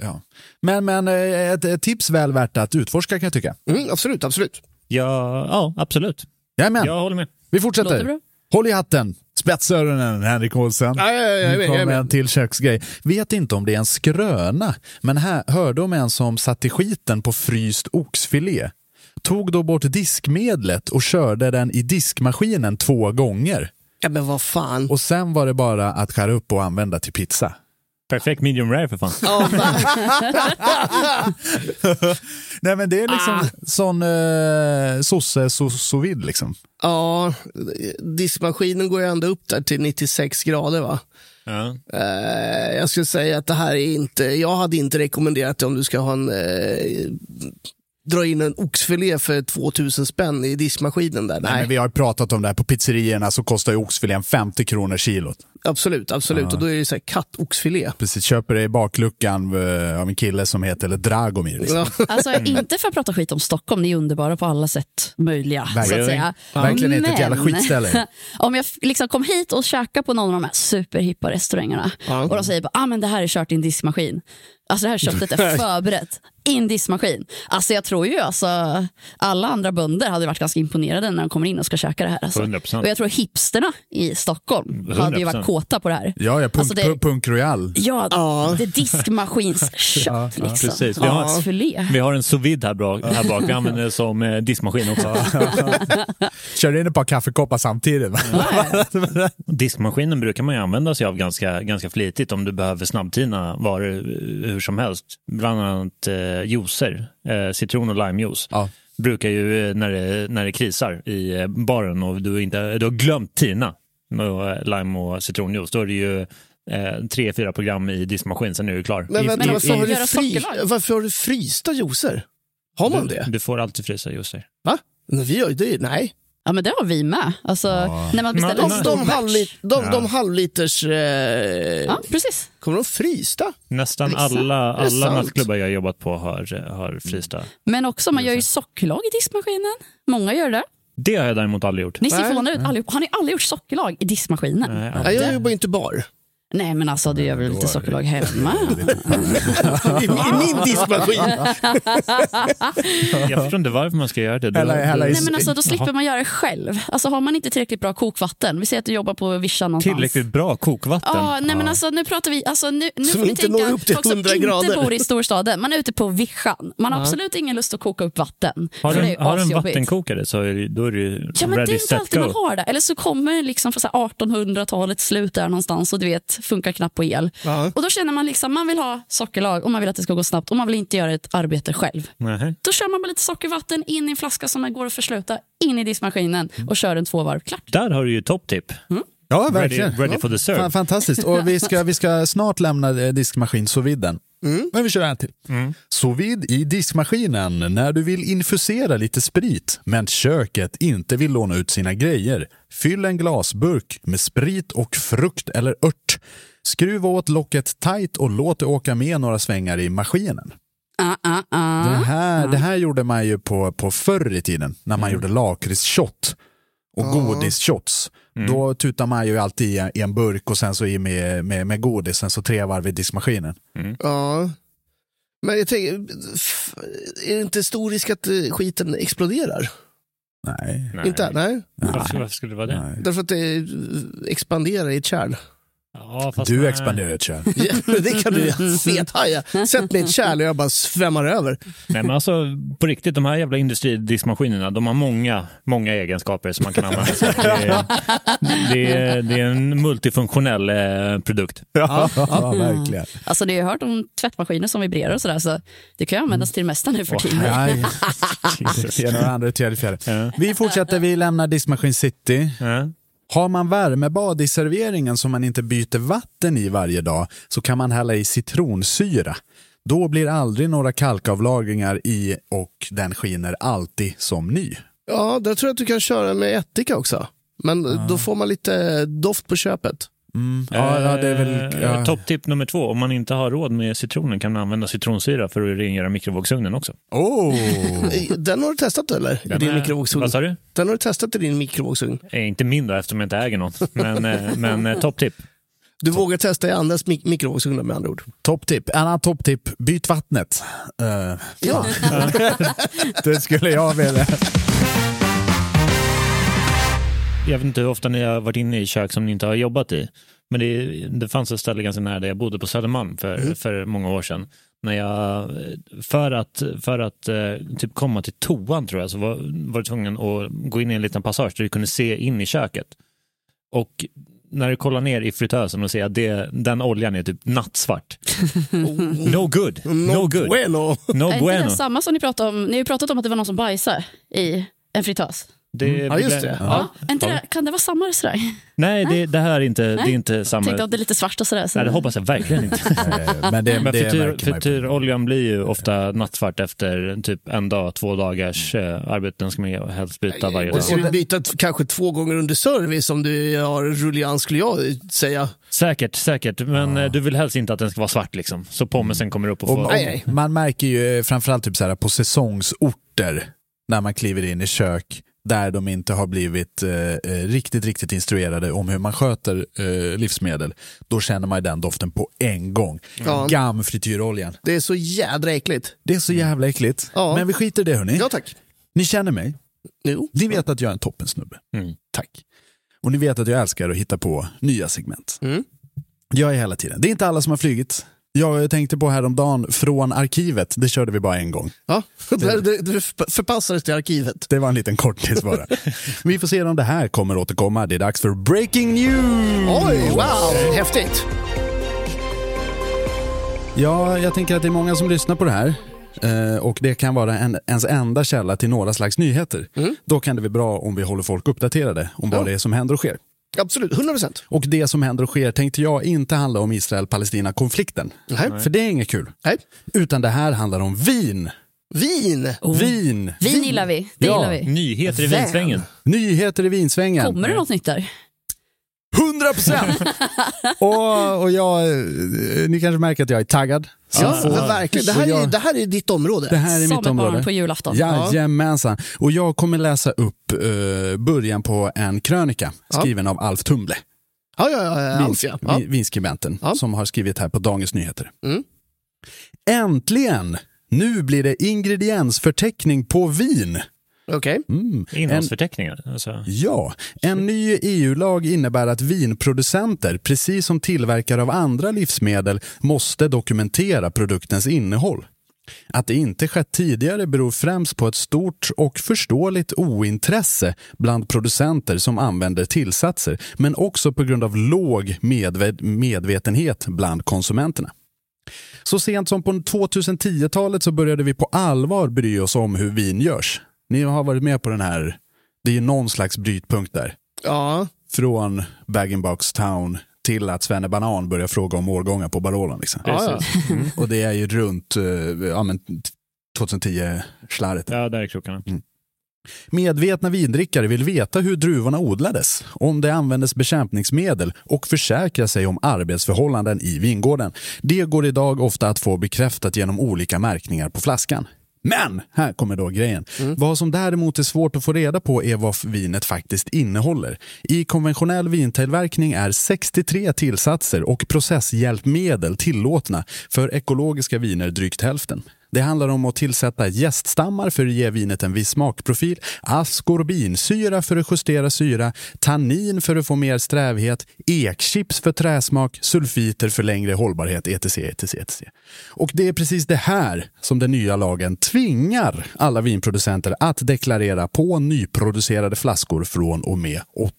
B: ja. Men, men eh, ett, ett tips väl värt att utforska kan jag tycka.
C: Mm, absolut, absolut.
E: Ja, ja absolut.
B: Jajamän,
E: Jag håller med.
B: vi
D: Låter
B: fortsätter.
D: bra.
B: Håll i hatten, spetsa öronen Henrik Olsen.
C: Ja, ja, ja, jag är med,
B: Nu
C: jag är
B: kommer
C: med.
B: en till köksgrej. Vet inte om det är en skröna, men här hörde om en som satte skiten på fryst oxfilé. tog då bort diskmedlet och körde den i diskmaskinen två gånger.
C: Ja, men vad fan.
B: Och sen var det bara att skära upp och använda till pizza.
E: Perfekt medium rare för fan.
B: Nej men det är liksom
C: Ah.
B: sån eh, sosse so, so vid liksom.
C: Ja, diskmaskinen går ju ändå upp där till 96 grader va?
E: Ja.
C: Eh, jag skulle säga att det här är inte, jag hade inte rekommenderat det om du ska ha en, eh, dra in en oxfilé för 2000 spänn i diskmaskinen där.
B: Nej,
C: Nej,
B: men vi har ju pratat om det här på pizzerierna så kostar ju oxfilén 50 kronor kilot.
C: absolut, absolut. Och då är det så här kattoxfilé.
B: Precis, köper det i bakluckan eh, av en kille som heter Dragomir. Liksom.
C: Ja.
D: Alltså, Inte för att prata skit om Stockholm, ni är underbara på alla sätt möjliga. Så att
B: Verkligen.
D: säga.
B: Verkligen inte ett jävla
D: Men-
B: skitställe.
D: [laughs] om jag f- liksom kom hit och käkade på någon av de här superhippa restaurangerna och de säger bara, ah, men det här är kört i en diskmaskin. Alltså det här köttet
B: [laughs]
D: är förberett i en diskmaskin. Alltså jag tror ju alltså, alla andra bönder hade varit ganska imponerade när de kommer in och ska käka det här. Alltså.
E: 100%.
D: Och jag tror hipsterna i Stockholm hade ju varit
E: 100%.
D: kåta på det här.
B: Ja, ja, punk,
D: Alltså, det-
B: pu- punk royal.
D: Ja, det är diskmaskinskött liksom.
E: precis. Vi har-
D: Havsfilé.
E: Vi har en sous vide här, bra- här bak.
B: [laughs]
E: Vi använder det som eh, diskmaskin också.
B: Kör in ett par kaffekoppar samtidigt. va?
E: [laughs] Diskmaskinen brukar man ju använda sig av ganska, ganska flitigt om du behöver snabbtina varor eh, hur som helst. Bland annat eh, juicer, eh, citron och limejuice.
B: Ja.
E: Brukar ju eh, när det, när det krisar i eh, baren och du, inte, du har glömt tina med eh, lime och citronjuice, då är det ju eh, tre, fyra program i diskmaskin, sen är du klar.
C: Men
E: I-
C: vänta,
E: i-
C: varför, har
E: i-
C: du
D: Göra
C: fri,
D: sockerlag.
C: varför har du frysta juicer? Har man
E: du,
C: det?
E: du får alltid frysa juicer.
C: Va? Nej, vi har ju det, nej.
D: Ja men det har vi med. Alltså, När man beställer
E: Men-
D: en
C: De,
D: stor
C: de,
D: batch.
C: halvlit, de, de halvliters, eh,
D: Ja, precis.
C: kommer de frysta?
E: Nästan
D: Exakt.
E: alla,
C: Det är
E: alla
C: sant.
E: nattklubbar jag har jobbat på har, eh, har frysta.
D: Men också, man gör ju sockerlag i diskmaskinen. Många gör det.
E: Det har jag däremot aldrig gjort.
D: Ni ser förvånade ut allihop. Har ni aldrig gjort sockerlag i diskmaskinen? Nej,
C: Nej, jag jobbar ju inte bar.
D: men alltså du gör väl lite sockerlag hemma?
C: I, i min diskmaskin.
E: [laughs] Jag förstår inte varför man ska göra det. Du-
B: Eller- eller
E: du-
B: i-
D: Nej men alltså då slipper man göra det själv. Alltså har man inte tillräckligt bra kokvatten, vi säger att du jobbar på vischan någonstans.
E: Tillräckligt bra kokvatten.
D: Ja, nej men alltså nu pratar vi, alltså nu, nu
C: Så
D: får
C: vi
D: vi
C: inte
D: tänka
C: når upp till
D: folk som
C: 100
D: inte
C: grader.
D: bor i storstaden, man är ute på vischan. Man har absolut ingen lust att koka upp vatten.
E: har
D: för
E: du,
D: det är ju
E: en- har du en
D: asjobbigt.
E: vattenkokare så är det, då är det ju
D: Ja, men det
E: ready,
D: är inte
E: set,
D: alltid
E: go.
D: man har det. Eller så kommer liksom från så här 1800-talets slut där någonstans och du vet, funkar knappt på el. Och då känner man liksom, man vill ha sockerlag och man vill att det ska gå snabbt och man vill inte göra ett arbete själv.
E: Nähä.
D: Då kör man bara lite sockervatten in i en flaska som går att försluta, in i diskmaskinen och kör en två varv. Klart.
E: Mm.
D: Mm.
E: Där har du ju topptipp.
B: Ja,
E: Ready,
B: verkligen.
E: ready for the serve.
B: Fan, fantastiskt. Och vi ska, vi ska snart lämna eh, diskmaskin sous viden. Men vi kör en till. Mm. Sous vide i diskmaskinen när du vill infusera lite sprit men köket inte vill låna ut sina grejer. Fyll en glasburk med sprit och frukt eller ört. Skruva åt locket tight och låt det åka med några svängar i maskinen.
D: Ah, ah, ah. Mm.
B: Det här, det här gjorde man ju på, på förr i tiden när man gjorde lakritsshot och godisshots. Då tutar man ju alltid i en, i en burk och sen så i med, med, med godisen så tre varv i diskmaskinen.
C: Ja. Men jag tänker, f- är det inte stor risk att eh, skiten exploderar?
B: Nej.
E: Nej.
C: Inte? Nej.
E: Varför, varför skulle det vara det?
C: Därför att det eh, expanderar i ett kärl.
E: Ja, fast
B: Du
E: nej.
B: expanderar ett kärl.
C: Ja, det kan du
E: [laughs]
C: göra. Fethaja. Sätt mig i ett kärl och jag bara svämmar över.
E: Nej, men alltså på riktigt, de här jävla industridiskmaskinerna, de har många, många egenskaper som man kan använda sig av. Det är, det är, det är en multifunktionell eh, produkt.
B: [laughs] Ja, verkligen.
D: Alltså, ni har ju hört om tvättmaskiner som vibrerar och sådär, så det kan ju användas till det mesta nu för tiden.
B: Nej.
E: [laughs]
B: Det är några andra, tredje, fjärde. Vi fortsätter, vi lämnar diskmaskin city.
E: Ja.
B: Har man värmebad i serveringen som man inte byter vatten i varje dag så kan man hälla i citronsyra. Då blir aldrig några kalkavlagringar i och den skiner alltid som ny.
C: Ja, där tror jag att du kan köra med ättika också. Men då får man lite doft på köpet.
B: Ja, ja, det är väl...
E: Eh,
B: Ja.
E: Topptipp nummer två, om man inte har råd med citronen kan man använda citronsyra för att rengöra mikrovågsugnen också.
B: Oh.
C: Den har du testat eller? I
E: Den
C: din
E: är-
C: mikrovågsugn?
E: Vad sa du?
C: Den har du testat i din mikrovågsugn.
E: Eh, inte min då, eftersom jag inte äger någon. Men, eh, men eh, topptipp.
C: Du vågar testa i andras mik- mikrovågsugnar med andra ord.
B: Topptipp. En annan topptipp. Byt vattnet. Eh,
C: Ja.
B: [laughs] det skulle jag vilja.
E: Jag vet inte hur ofta ni har varit inne i kök som ni inte har
C: Mm.
E: jobbat i. Men det, det fanns ett ställe ganska nära där jag bodde på Södermalm för, för många år sedan. när jag, för att, för att eh, typ komma till toan tror jag, så var, var jag tvungen att gå in i en liten passage där du kunde se in i köket. Och när du kollar ner i fritösen och ser att det, den oljan är typ
C: [laughs]
E: nattsvart. No good,
C: Mm.
E: no good,
C: Bueno.
E: no
D: Är inte
E: bueno.
D: det samma som ni pratade om? Ni har ju pratat om att det var någon som bajsade i en fritös.
E: Det,
C: Mm. Ja, just
E: Mm.
C: det.
D: Ja. är inte det, kan det vara samma restaurang?
E: Nej, det, det här är inte, det är inte
D: Jag
E: samma.
D: tänkte att det är lite svart och sådär. Så.
E: Nej, det hoppas jag verkligen inte.
B: Eh, Men det, det
E: Men frityr,
B: märker man ju.
E: frityroljan blir ju ofta nattsvart efter typ en dag, två dagars eh, arbete. Den ska man ju helst byta varje dag.
C: Och ska du byta t- kanske två gånger under service om du har rullians skulle jag säga.
E: Säkert, säkert. Men eh, du vill helst inte att den ska vara svart liksom. Så pommesen kommer upp och
B: Och,
E: får...
B: och,
C: Nej, nej.
B: man märker ju eh, framförallt typ så här, på säsongsorter när man kliver in i kök där de inte har blivit eh, eh, riktigt, riktigt instruerade om hur man sköter eh, livsmedel. Då känner man ju den doften på en gång.
C: Ja.
B: Gam frityroljan.
C: Det är så jädra äckligt.
B: Det är så jävla äckligt.
C: Ja.
B: Men vi skiter i det hörni.
C: Ja tack.
B: Ni känner mig.
C: Jo.
B: Ni vet att jag är en toppensnubbe.
E: Mm.
B: Tack. Och ni vet att jag älskar att hitta på nya segment.
C: Mm.
B: Jag är hela tiden. Det är inte alla som har flugit. Jag tänkte på häromdagen från arkivet. Det körde vi bara en gång.
C: Ja. Det, det, det förp- förpassades till arkivet.
B: Det var en liten kortis
C: [laughs]
B: bara. vi får se om det här kommer återkomma. Det är dags för breaking news!
C: Oj, wow, häftigt.
B: Ja, jag tänker att det är många som lyssnar på det här. eh, Och det kan vara en, ens enda källa till några slags nyheter.
C: Mm.
B: Då kan det bli bra om vi håller folk uppdaterade om vad det är som händer och sker.
C: Absolut, 100 procent.
B: Och det som händer och sker tänkte jag inte handla om Israel-Palestina-konflikten.
C: Nej.
B: För det är inget kul.
C: Nej.
B: Utan det här handlar om vin.
C: Vin.
B: Vin!
D: Vin gillar vi. Det
B: Ja.
D: gillar vi.
E: Nyheter i
C: Vän.
E: vinsvängen.
B: Nyheter i vinsvängen.
D: Kommer det något nytt där?
B: 100
C: [laughs]
B: procent! och, och jag, eh, ni kanske märker att jag är taggad.
C: Ja, men verkligen. Det här,
B: Så
C: är,
B: jag-
C: det här är ditt område.
B: Det här är
D: Som
B: mitt
D: ett barn
B: område.
D: på julafton.
B: Jajamensan. Och jag kommer läsa upp eh, början på en krönika skriven av Alf Tumble,
C: Ja, ja, ja, ja, Alf, eh, ja. ja.
B: vi- vinskribenten,
C: Ja.
B: som har skrivit här på Dagens Nyheter.
C: Mm.
B: Äntligen! Nu blir det ingrediensförteckning på vin. Mm.
C: Okej.
E: Mm. Innehållsförteckningar. Alltså.
B: Ja, en ny EU-lag innebär att vinproducenter, precis som tillverkare av andra livsmedel, måste dokumentera produktens innehåll. Att det inte skett tidigare beror främst på ett stort och förståeligt ointresse bland producenter som använder tillsatser, men också på grund av låg medve- medvetenhet bland konsumenterna. Så sent som på 2010-talet så började vi på allvar bry oss om hur vin görs. Ni har varit med på den här, det är ju någon slags brytpunkt där.
C: Ja.
B: Från bag Town till att Svenne Banan börjar fråga om årgångar på Barololen. Liksom.
C: Ja,
B: Och det är ju runt eh, ja, men 2010-slarret.
E: Ja, där är krokarna.
B: Medvetna vindrickare vill veta hur druvorna odlades, om det användes bekämpningsmedel och försäkra sig om arbetsförhållanden i vingården. Det går idag ofta att få bekräftat genom olika märkningar på flaskan. Men, här kommer då grejen. Vad som däremot är svårt att få reda på är vad vinet faktiskt innehåller. I konventionell vintillverkning är 63 tillsatser och processhjälpmedel tillåtna, för ekologiska viner drygt hälften. Det handlar om att tillsätta jäststammar för att ge vinet en viss smakprofil, askorbinsyra för att justera syra, tannin för att få mer strävhet, ekchips för träsmak, sulfiter för längre hållbarhet, etc. etc, etc. Och det är precis det här som den nya lagen tvingar alla vinproducenter att deklarera på nyproducerade flaskor från och med 8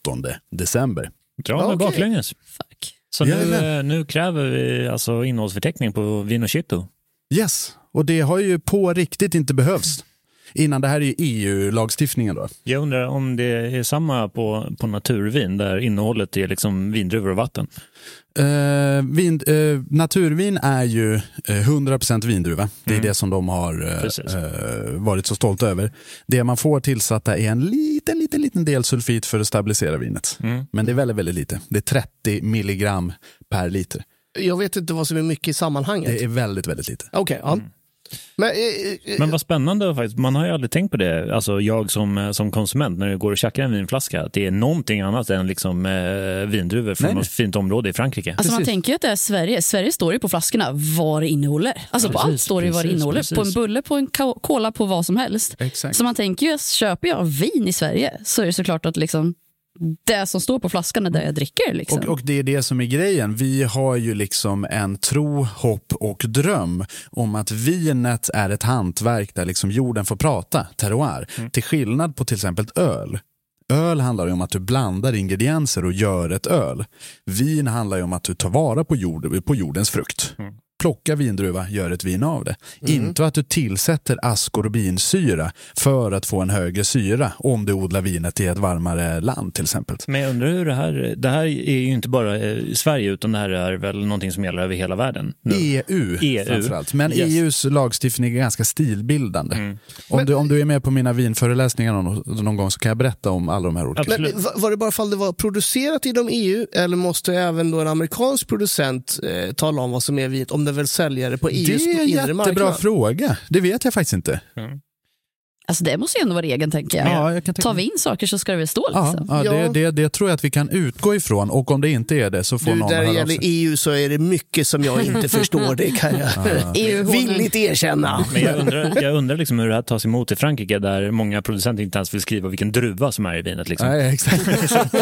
B: december.
E: Dra mig
C: okej.
E: baklänges.
D: Fuck.
E: Så nu,
B: Jajamän.
E: eh, nu kräver vi alltså innehållsförteckning på Vinochito.
B: Yes, och det har ju på riktigt inte behövts. Innan det här är ju EU-lagstiftningen då.
E: Jag undrar om det är samma på, på naturvin där innehållet är liksom vindruvor och vatten.
B: Eh, vin, eh, naturvin är ju eh, 100% vindruva. Det är det som de har
E: Precis.
B: eh, eh, varit så stolta över. Det man får tillsatta är en liten, liten, liten del sulfit för att stabilisera vinet. Men det är väldigt, väldigt lite. Det är 30 milligram per liter.
C: Jag vet inte vad som är mycket i sammanhanget.
B: Det är väldigt, väldigt lite.
C: Okej, ja. Men, eh, eh,
E: Men vad spännande faktiskt. Man har ju aldrig tänkt på det, alltså jag som, eh, som konsument, när du går och tjackar en vinflaska, att det är någonting annat än liksom, eh, vindruvor från
B: Nej, nej.
E: något fint område i Frankrike.
D: Alltså man
B: Precis.
D: tänker ju att det är Sverige. Sverige står ju på flaskorna vad det innehåller. Alltså på
E: Precis,
D: allt står det ju vad det
E: precis,
D: innehåller. På en
E: precis.
D: bulle, på en ka- cola, på vad som helst.
B: Exakt.
D: Så man tänker ju, köper jag vin i Sverige så är det såklart att liksom, det som står på flaskan är det jag dricker. Liksom.
B: Och, och det är det som är grejen. Vi har ju liksom en tro, hopp och dröm om att vinet är ett hantverk där liksom jorden får prata, terroir. Till skillnad på till exempel ett öl. Öl handlar ju om att du blandar ingredienser och gör ett öl. Vin handlar ju om att du tar vara på, jord, på jordens frukt. Plocka vindruva, gör ett vin av det. Inte att du tillsätter askorbinsyra för att få en högre syra om du odlar vinet i ett varmare land till exempel.
E: Men jag undrar hur det här, det här är ju inte bara eh, i Sverige utan det här är väl någonting som gäller över hela världen. nu.
C: E-
B: EU,
E: EU.
B: E framförallt. Men
E: Yes.
B: EUs lagstiftning är ganska stilbildande. Om, du, om du är med på mina vinföreläsningar någon, någon gång så kan jag berätta om alla de här olika.
C: Men,
E: Absolut.
C: va- var det bara fall det var producerat inom EU eller måste även då en amerikansk producent eh, tala om vad som är vinet om den väl säljer det på
B: Det
C: EUs
B: är en
C: inre
B: jättebra
C: marknad?
B: fråga. Det vet jag faktiskt inte.
D: Alltså, det måste ju ändå vara regeln, tänker jag.
B: Ja, jag kan tänka-
D: Tar vi in saker så ska det väl stå.
B: Ja,
D: Liksom.
B: ja, det,
C: Ja.
B: det, det tror jag att vi kan utgå ifrån och om det inte är det så får
C: Du,
B: någon
C: där det
B: höra av
C: gäller
B: sig.
C: EU så är det mycket som jag
B: [laughs]
C: inte förstår. Det kan jag
B: E
D: EU-hånen.
C: villigt erkänna.
E: Men jag undrar, jag undrar liksom hur det här tas emot i Frankrike där många producenter inte ens vill skriva vilken druva som är i vinet. Liksom.
C: E-
B: Nej, [laughs]
C: [laughs]
B: exakt.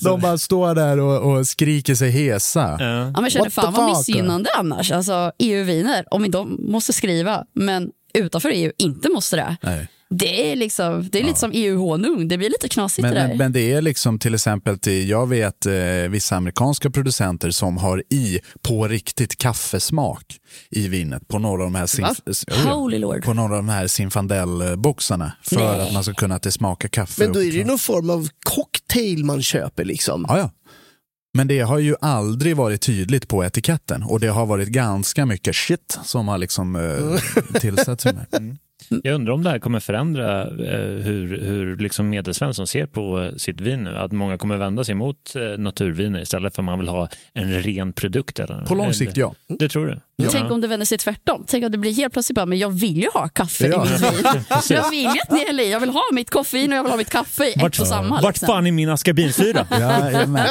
B: De bara står där och, och skriker sig hesa.
E: Ja.
D: Ja, men jag känner
B: What the
D: fan vad
B: fuck?
D: missgynnande annars. Alltså, EU-viner, om de måste skriva, men utanför EU inte måste det.
B: Nej.
D: Det är, liksom, det är lite som EU-honung, det blir lite knasigt
B: Men,
D: det där.
B: men, men det är liksom till exempel, till, jag vet eh, vissa amerikanska producenter som har i på riktigt kaffesmak i vinet på några av de här, sinf- Jo, ja.
D: Holy lord.
B: på några av de här Zinfandel-boxarna för
D: Nej.
B: att man ska kunna att det smakar kaffe.
C: Men då är
B: och-
C: det ju någon form av cocktail man köper liksom.
B: Ja, ja. Men det har ju aldrig varit tydligt på etiketten och det har varit ganska mycket shit som har liksom
C: [laughs]
B: eh, tillsatts. i den här.
E: Jag undrar om det här kommer förändra eh, hur, hur liksom medelsvensson ser på eh, sitt vin nu. Att många kommer vända sig mot eh, naturviner istället för att man vill ha en ren produkt. Eller? Mm.
B: På lång sikt, ja.
E: Det, det tror du?
D: Tänk om det vänder sig tvärtom. Tänk om det blir helt plötsligt bara, men jag vill ju ha kaffe
B: [laughs]
D: i
B: Ja.
D: mitt vin. jag vill ju att ni häller i. Jag vill ha mitt koffein och jag vill ha mitt kaffe i ett och samma.
E: Vart
D: liksom.
E: fan är
C: [laughs]
E: min askarbinsyra?
B: Ja, jajamän.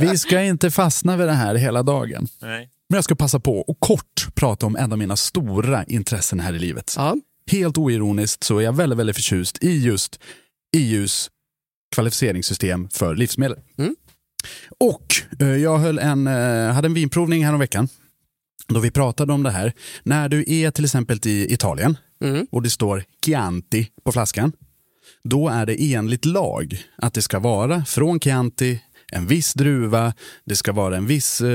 B: Vi ska inte fastna vid det här hela dagen.
E: Nej.
B: Men jag ska passa på och kort prata om en av mina stora intressen här i livet.
C: Ja.
B: Helt oironiskt så är jag väldigt, väldigt förtjust i just EUs kvalificeringssystem för livsmedel.
C: Mm.
B: Och eh, jag höll en, eh, hade en vinprovning häromveckan då vi pratade om det här. När du är till exempel i Italien
C: Mm.
B: och det står Chianti på flaskan, då är det enligt lag att det ska vara från Chianti, en viss druva, det ska vara en viss eh,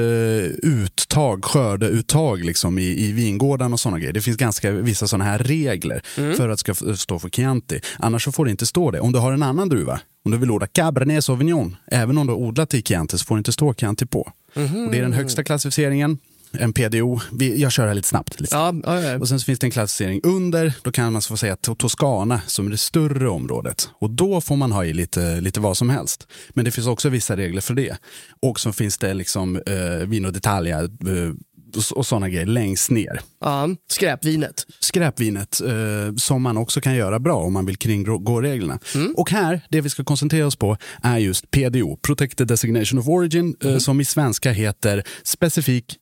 B: uttag, skördeuttag liksom, i, i vingården och sådana grejer. Det finns ganska vissa sådana här regler för att det ska f- stå för Chianti. Annars så får det inte stå det. Om du har en annan druva, om du vill odla Cabernet Sauvignon, även om du har odlat i Chianti så får det inte stå Chianti på. Och det är den högsta klassificeringen, en PDO. Vi, jag kör här lite snabbt. Lite
C: Ja, ja, ja.
B: och sen så finns det en klassificering under, då kan man så få säga to- Toscana som är det större området. Och då får man ha i lite, lite vad som helst. Men det finns också vissa regler för det. Och så finns det liksom eh, Vino d'Italia eh, och- och sådana grejer längst ner.
C: Ja, skräpvinet.
B: Skräpvinet eh, som man också kan göra bra om man vill kringgå reglerna.
E: Mm.
B: Och här, det vi ska koncentrera oss på är just PDO, Protected Designation of Origin, eh,
E: Mm.
B: som i svenska heter specifik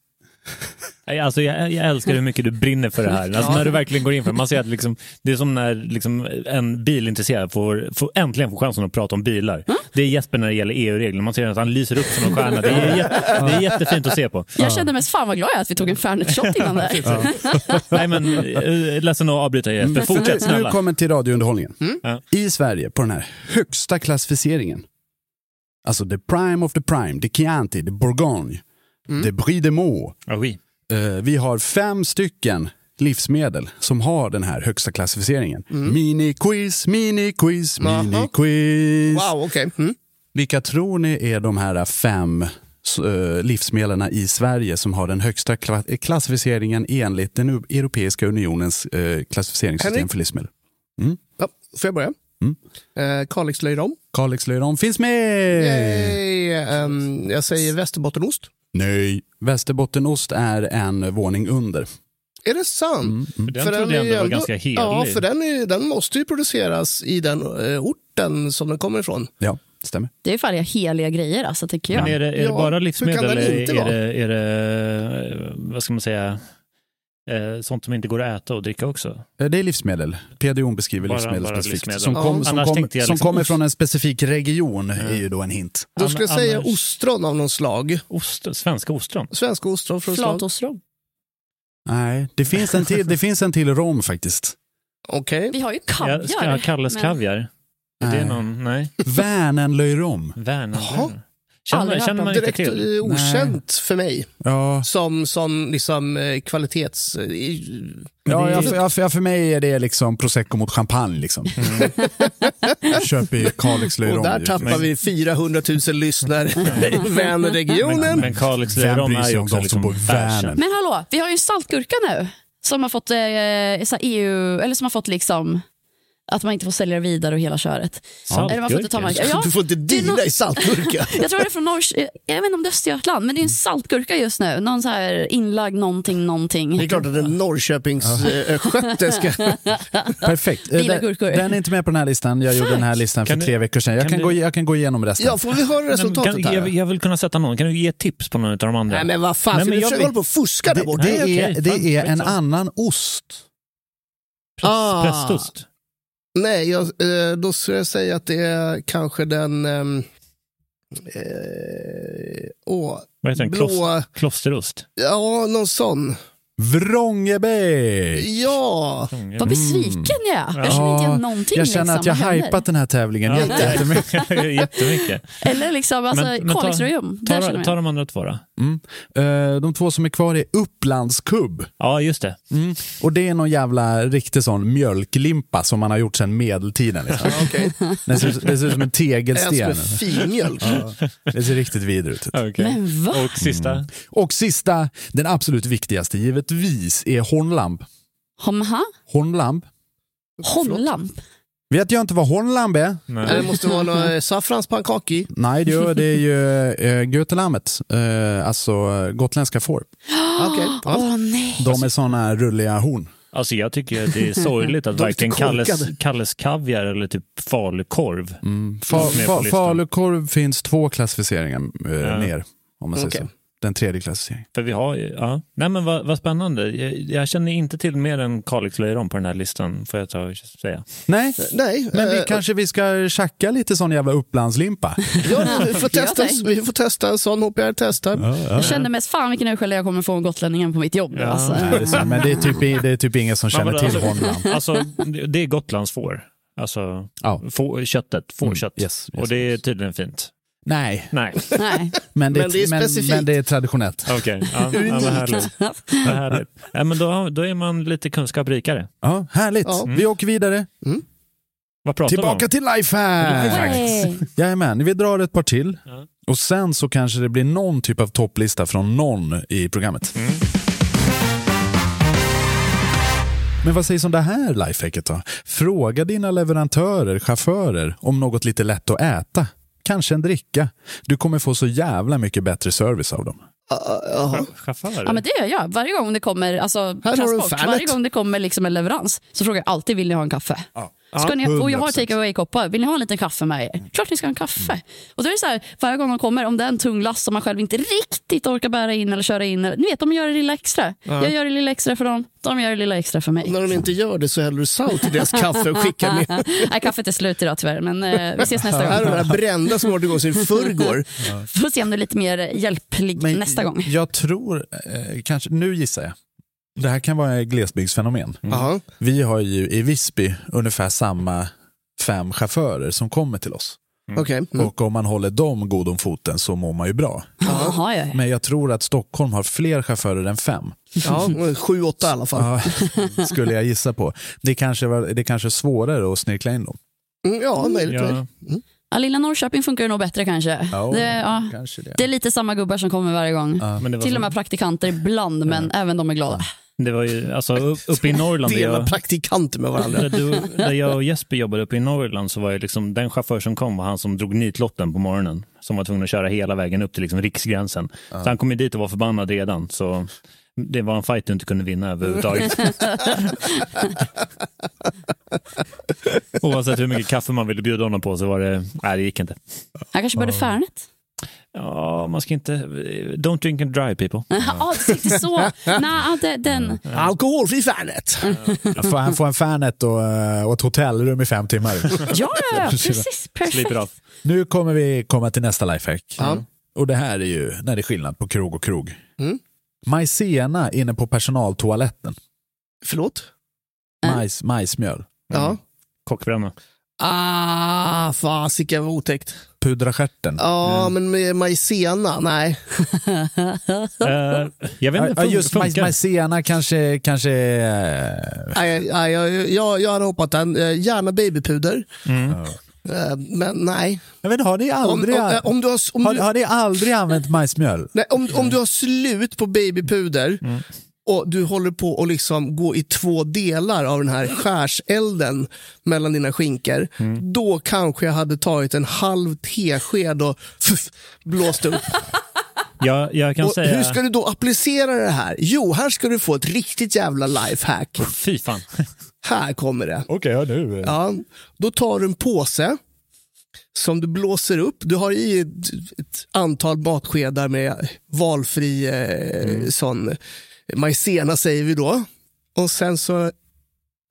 E: Nej, Alltså, jag, jag älskar hur mycket du brinner för det här. Alltså, När du verkligen går in för det. Man ser att liksom, det är som när liksom, en bilintresserad får, får, äntligen får chansen att prata om bilar. Det är Jesper när det gäller EU-regler. Man ser att han lyser upp som en stjärna. Det är, jätte, det är jättefint att se på.
D: Jag kände mest fan vad glad jag är att vi tog en Fernet shot innan det här.
E: Nej, men, eh, ledsen att avbryta Jesper. Fortsätt
B: Nu, nu
E: snälla.
B: kommer till radiounderhållningen.
E: Ja.
B: I Sverige, på den här högsta klassificeringen, alltså the prime of the prime, the Chianti, the Bourgogne, the Brie de Meaux.
E: Ja, oui.
B: Eh, vi har fem stycken livsmedel som har den här högsta klassificeringen. Mini-quiz, mini-quiz,
C: Mm. Jaha.
B: mini-quiz.
C: Wow, okej. Mm.
B: Vilka tror ni är de här fem eh, livsmedlen i Sverige som har den högsta kla- klassificeringen enligt den Europeiska unionens eh, klassificeringssystem
C: Henrik?
B: för livsmedel?
C: Ja, får jag börja? Mm. Eh, Kalix löjrom.
B: Kalix löjrom finns med!
C: Yay. Ehm, jag säger västerbottenost.
B: Nej. Västerbottenost är en våning under. Mm,
C: Är det sant?
E: För den trodde jag
C: är
E: ändå var
C: ändå-
E: ganska helig.
C: Ja, för den, är, den måste ju produceras i den eh, orten som den kommer ifrån.
B: Ja, stämmer.
D: Det är fan heliga grejer alltså, tycker jag.
E: Men är det, är det
C: Ja,
E: bara
C: hur
E: livsmedel
C: kan den
E: eller
C: inte
E: är
C: vara?
E: det, är det, eh, vad ska man säga, eh, sånt som inte går att äta och dricka också.
B: Eh, Det är livsmedel. Peder Jon beskriver
E: Bara-
B: livsmedel
E: bara
B: specifikt.
E: livsmedel.
B: Som, kom,
E: Ja.
B: som,
E: Annars
B: kom,
E: tänkte jag
B: som
E: liksom
B: kommer
E: ost.
B: från en specifik region är ju då en hint.
C: Då skulle jag
E: Ann-
C: säga
E: annars-
C: ostron av någon slag.
E: Ost, svenska ostron.
C: Svenska ostron från slag.
D: Flatostron.
B: Nej, det finns en till, det finns en till rom faktiskt.
C: Okej.
D: Vi har ju
E: Ja,
D: kaviar.
E: ska- ja, Kalles
D: men-
E: kaviar. Är
B: Nej.
E: Det är någon, nej.
B: Värnenlöjrom.
E: Värnen.
C: Jaha.
E: Känner, man-
D: Aldrig hört
E: känner man inte
C: Direkt
E: till.
C: eh, okänt för mig
B: Ja,
C: som, som liksom eh, kvalitets... eh,
B: ja jag, jag, för, för mig är det liksom prosecco mot champagne.
C: [laughs]
B: Liksom. jag köper ju Kalixlöjrom.
C: Och där tappar vi 400 000 lyssnare i
E: Men,
C: Vänerregionen.
E: men Kalix
B: Vem
E: löjrom
B: bryr
E: är
B: sig
E: ju
B: om
E: också
B: de som bor
E: liksom
B: i
E: världskänt.
B: Värnen?
D: Men hallå, vi har ju en saltgurka nu som har fått eh, så här EU, eller som har fått liksom att man inte får sälja det vidare och hela köret. Eller man får inte ta mark- ja,
C: Du får inte
D: det är nå-
C: dina i saltburkar.
D: [laughs] Jag tror det är från Norr... eh, Jag vet inte om det är Östergötland, men det är en saltgurka just nu. Någon så här inlagd någonting,
C: Det
D: någonting.
C: är klart att en Norrköpingsöstgöte ska...
B: Perfekt. Eh,
D: Gillar
B: den-
D: gurkor.
B: Den är inte med på den här listan. Jag gjorde den här listan för
E: Kan du-
B: tre veckor sedan. Jag kan,
E: kan
B: gå,
E: du-
B: jag kan gå igenom resten.
C: Ja, får vi höra
E: Men kan,
C: resultatet
E: jag,
C: här?
E: jag vill kunna sätta någon. Kan du ge tips på någon av de andra?
C: Nej men vad fan,
E: Nej,
C: ska
E: men
C: du
E: jag
C: försöka
E: vill-
C: hålla på och fuska där
B: det,
C: borta?
B: det,
E: Nej,
B: är,
E: okej, fan,
B: det är
E: skitsamma.
B: en annan ost.
E: Präst,
C: Ah.
E: Prästost.
C: Nej, jag, eh, då skulle jag säga att det är kanske den... ehm, Eh, åh,
E: Vad heter den?
C: Blå-
E: Klos, klosterost.
D: [laughs]
C: ja, någon sån.
B: Vrångebäck!
C: Ja,
D: Vad besviken jag är. Jag känner inte igen någonting.
B: jag känner
D: liksom.
B: att jag
D: Vad händer?
B: hajpat den här tävlingen
E: Ja,
B: jätte-
D: [laughs]
B: jättemycket.
E: Jättemycket.
D: Eller liksom alltså,
E: Men- men ta-
D: Kalixröjum. Där känner
E: Ta,
D: jag.
E: ta de andra två då.
B: Mm. Eh, De två som är kvar är Upplandskubb.
E: Ja, just det.
B: Och det är någon jävla riktig sån mjölklimpa som man har gjort sedan medeltiden. Liksom.
C: okej.
B: Den ser, ut- den ser ut som en
C: Ens
B: tegelsten.
C: med finmjölk.
B: Det ser riktigt vidrigt ut.
D: Men va?
E: Och sista.
B: Mm. Och sista, den absolut viktigaste givetvis, är Hornlamb.
D: Homha?
B: Hornlamb.
D: Hollamp?
B: Vet jag inte vad Hornlamb är?
C: Nej, Det
E: Nej.
C: måste vara någon eh, saffranspannkaka i.
B: Nej, det är, det är ju äh, Götalammet, eh, alltså eh, gotländska får.
C: [gasps] Okej.
D: Åh
C: Ja.
D: nej.
B: De är såna här rulliga horn.
E: Alltså jag tycker att det är sorgligt
C: [laughs]
E: att
C: De är
E: varken
C: lite korkade.
E: Kalles, Kalles kaviar eller typ falukorv.
B: Fa,
E: Med på
B: fa,
E: listan.
B: falukorv finns två klassificeringar eh,
E: Ja.
B: ner, om man säger
C: Okej.
B: så. Den tredje klassificeringen.
E: För vi har ju, ja. Nej men vad, vad spännande. Jag, jag känner inte till mer än Kalixlöjrom på den här listan, får jag ta och säga.
B: Nej,
C: Nej,
B: men vi
C: eh,
B: kanske vi ska tjacka lite sån jävla upplandslimpa.
C: [laughs] ja, vi, får testa,
D: Ja, tack.
C: vi får testa en sån, hoppas jag testar.
D: Jag kände mest fan vilken urskälla jag kommer få av gotlänningen på mitt jobb. nu, Alltså.
B: Nej, det är så, men det är, typ, det är typ ingen som känner
E: vadå,
B: till
E: alltså-
B: Holmland.
E: [laughs] Alltså det det är Gotlands får. Alltså
B: Ja.
E: får, köttet, fårkött.
B: Mm, yes, yes,
E: och det är
B: yes.
E: tydligen fint.
B: Nej, [laughs]
E: Nej,
D: Nej.
B: men det,
C: Men det är
B: men,
C: specifikt.
B: men det är traditionellt.
E: okej. Ja, ja, vad härligt. Vad härligt. Ja, men då, har- då är man lite kunskap rikare.
B: Ja, härligt,
C: Ja.
B: vi åker vidare.
E: Vad pratar vi
B: Tillbaka
E: om?
B: till lifehack!
D: Hey.
B: Jajamän, vi drar ett par till.
E: Ja.
B: Och sen så kanske det blir någon typ av topplista från någon i programmet.
E: Mm.
B: Men vad sägs om det här lifehacket då? Fråga dina leverantörer, chaufförer, om något lite lätt att äta. Kanske en dricka. Du kommer få så jävla mycket bättre service av dem.
C: Ja,
E: Chaufförer?
D: Ja, men det gör jag. Varje gång det kommer alltså,
C: har du
D: transport,
C: fanet.
D: varje gång det kommer liksom en leverans så frågar jag alltid vill ni ha en kaffe. Ska ni, och jag har
B: 100%.
D: take away-koppar. Vill ni ha en liten kaffe med er? Klart ni ska ha en kaffe.
C: Mm.
D: Och då är det så här, varje gång de kommer, om det är en tung last som man själv inte riktigt orkar bära in eller köra in. Eller, ni vet, de gör det lilla extra. Jag gör det lilla extra för dem, de gör det lilla extra för mig.
C: När de inte gör det så häller du salt i deras kaffe och skickar med.
D: [laughs] Nej, kaffet är slut idag tyvärr, men eh, vi ses nästa
C: Här har
D: gång.
C: vi den här brända som har varit igång sedan i förrgår.
D: Får se om du är lite mer hjälplig nästa gång.
B: Jag tror, eh, kanske, nu gissar jag. Det här kan vara ett glesbygdsfenomen.
C: Jaha.
B: Vi har ju i Visby ungefär samma fem chaufförer som kommer till oss.
C: Okej. Mm.
B: Och om man håller dem god om foten så mår man ju bra.
D: Jaha, ja.
B: Men jag tror att Stockholm har fler chaufförer än fem.
C: Ja, sju, åtta i alla fall.
B: Ja, skulle jag gissa på. Det kanske, var, det kanske är svårare att snirkla in dem.
C: Mm, Ja, möjligt.
E: Ja.
D: ja, lilla Norrköping funkar ju nog bättre kanske. det, ja.
B: kanske det.
D: det är lite samma gubbar som kommer varje gång.
E: Men det var
D: Till
E: så-
D: och med praktikanter ibland, men även de är glada.
E: Det var ju, alltså upp- uppe i Norrland. där
C: Dela
E: jag,
C: praktikanter med varandra.
E: där, du, där jag och Jesper jobbade uppe i Norrland så var ju liksom den chaufför som kom var han som drog nitlotten på morgonen. Som var tvungen att köra hela vägen upp till liksom riksgränsen. Så han kom ju dit och var förbannad redan. Så det var en fight du inte kunde
B: [laughs]
E: vinna överhuvudtaget. Oavsett hur mycket kaffe man ville bjuda honom på så var det, nej det gick inte.
D: Han kanske började Färnet.
E: Ja, man ska inte... Don't drink and drive people.
D: [laughs] Ja, du tänkte så. Nej, ja, det- den.
C: Alkoholfri Fanet.
B: Får han få en Fanet och, eh, och ett hotellrum i fem timmar?
D: Ja, ja, precis. Perfekt.
E: Slipper av.
B: nu kommer vi komma till nästa lifehack.
C: Ja. Mm.
B: Och det här är ju när det är skillnad på krog och krog. Majsena inne på personaltoaletten.
C: Förlåt?
B: Majs, majsmjöl.
C: Ja.
E: Kockbränna.
C: Ah, fasiken vad otäckt.
B: Pudra stjärten.
C: Ja, men med majsena, nej.
E: Eh, jag vet inte,
B: Ja,
E: fun-
B: just maj-
E: funkar.
B: majsena kanske... kanske eh,
C: nej, nej jag, jag, jag hade hoppat den. Eh, Gärna babypuder. Eh, Men nej.
B: jag vet inte, har ni
C: Om, om,
B: aldrig,
C: eh, om, du har, om,
B: har,
C: du,
B: har ni aldrig använt majsmjöl?
C: nej, om, om du har slut på babypuder och du håller på att liksom gå i två delar av den här skärselden mellan dina skinkor.
E: Mm.
C: Då kanske jag hade tagit en halv tesked och fuff, blåst upp.
E: Jag, jag kan
C: Och
E: säga...
C: hur ska du då applicera det här? Jo, här ska du få ett riktigt jävla lifehack.
E: Fy fan.
C: [laughs] Här kommer det.
B: Okej, ja, nu.
C: Ja, då tar du en påse som du blåser upp. Du har i ett, ett antal matskedar med valfri eh,
E: Mm.
C: sån majsena säger vi då. Och sen så,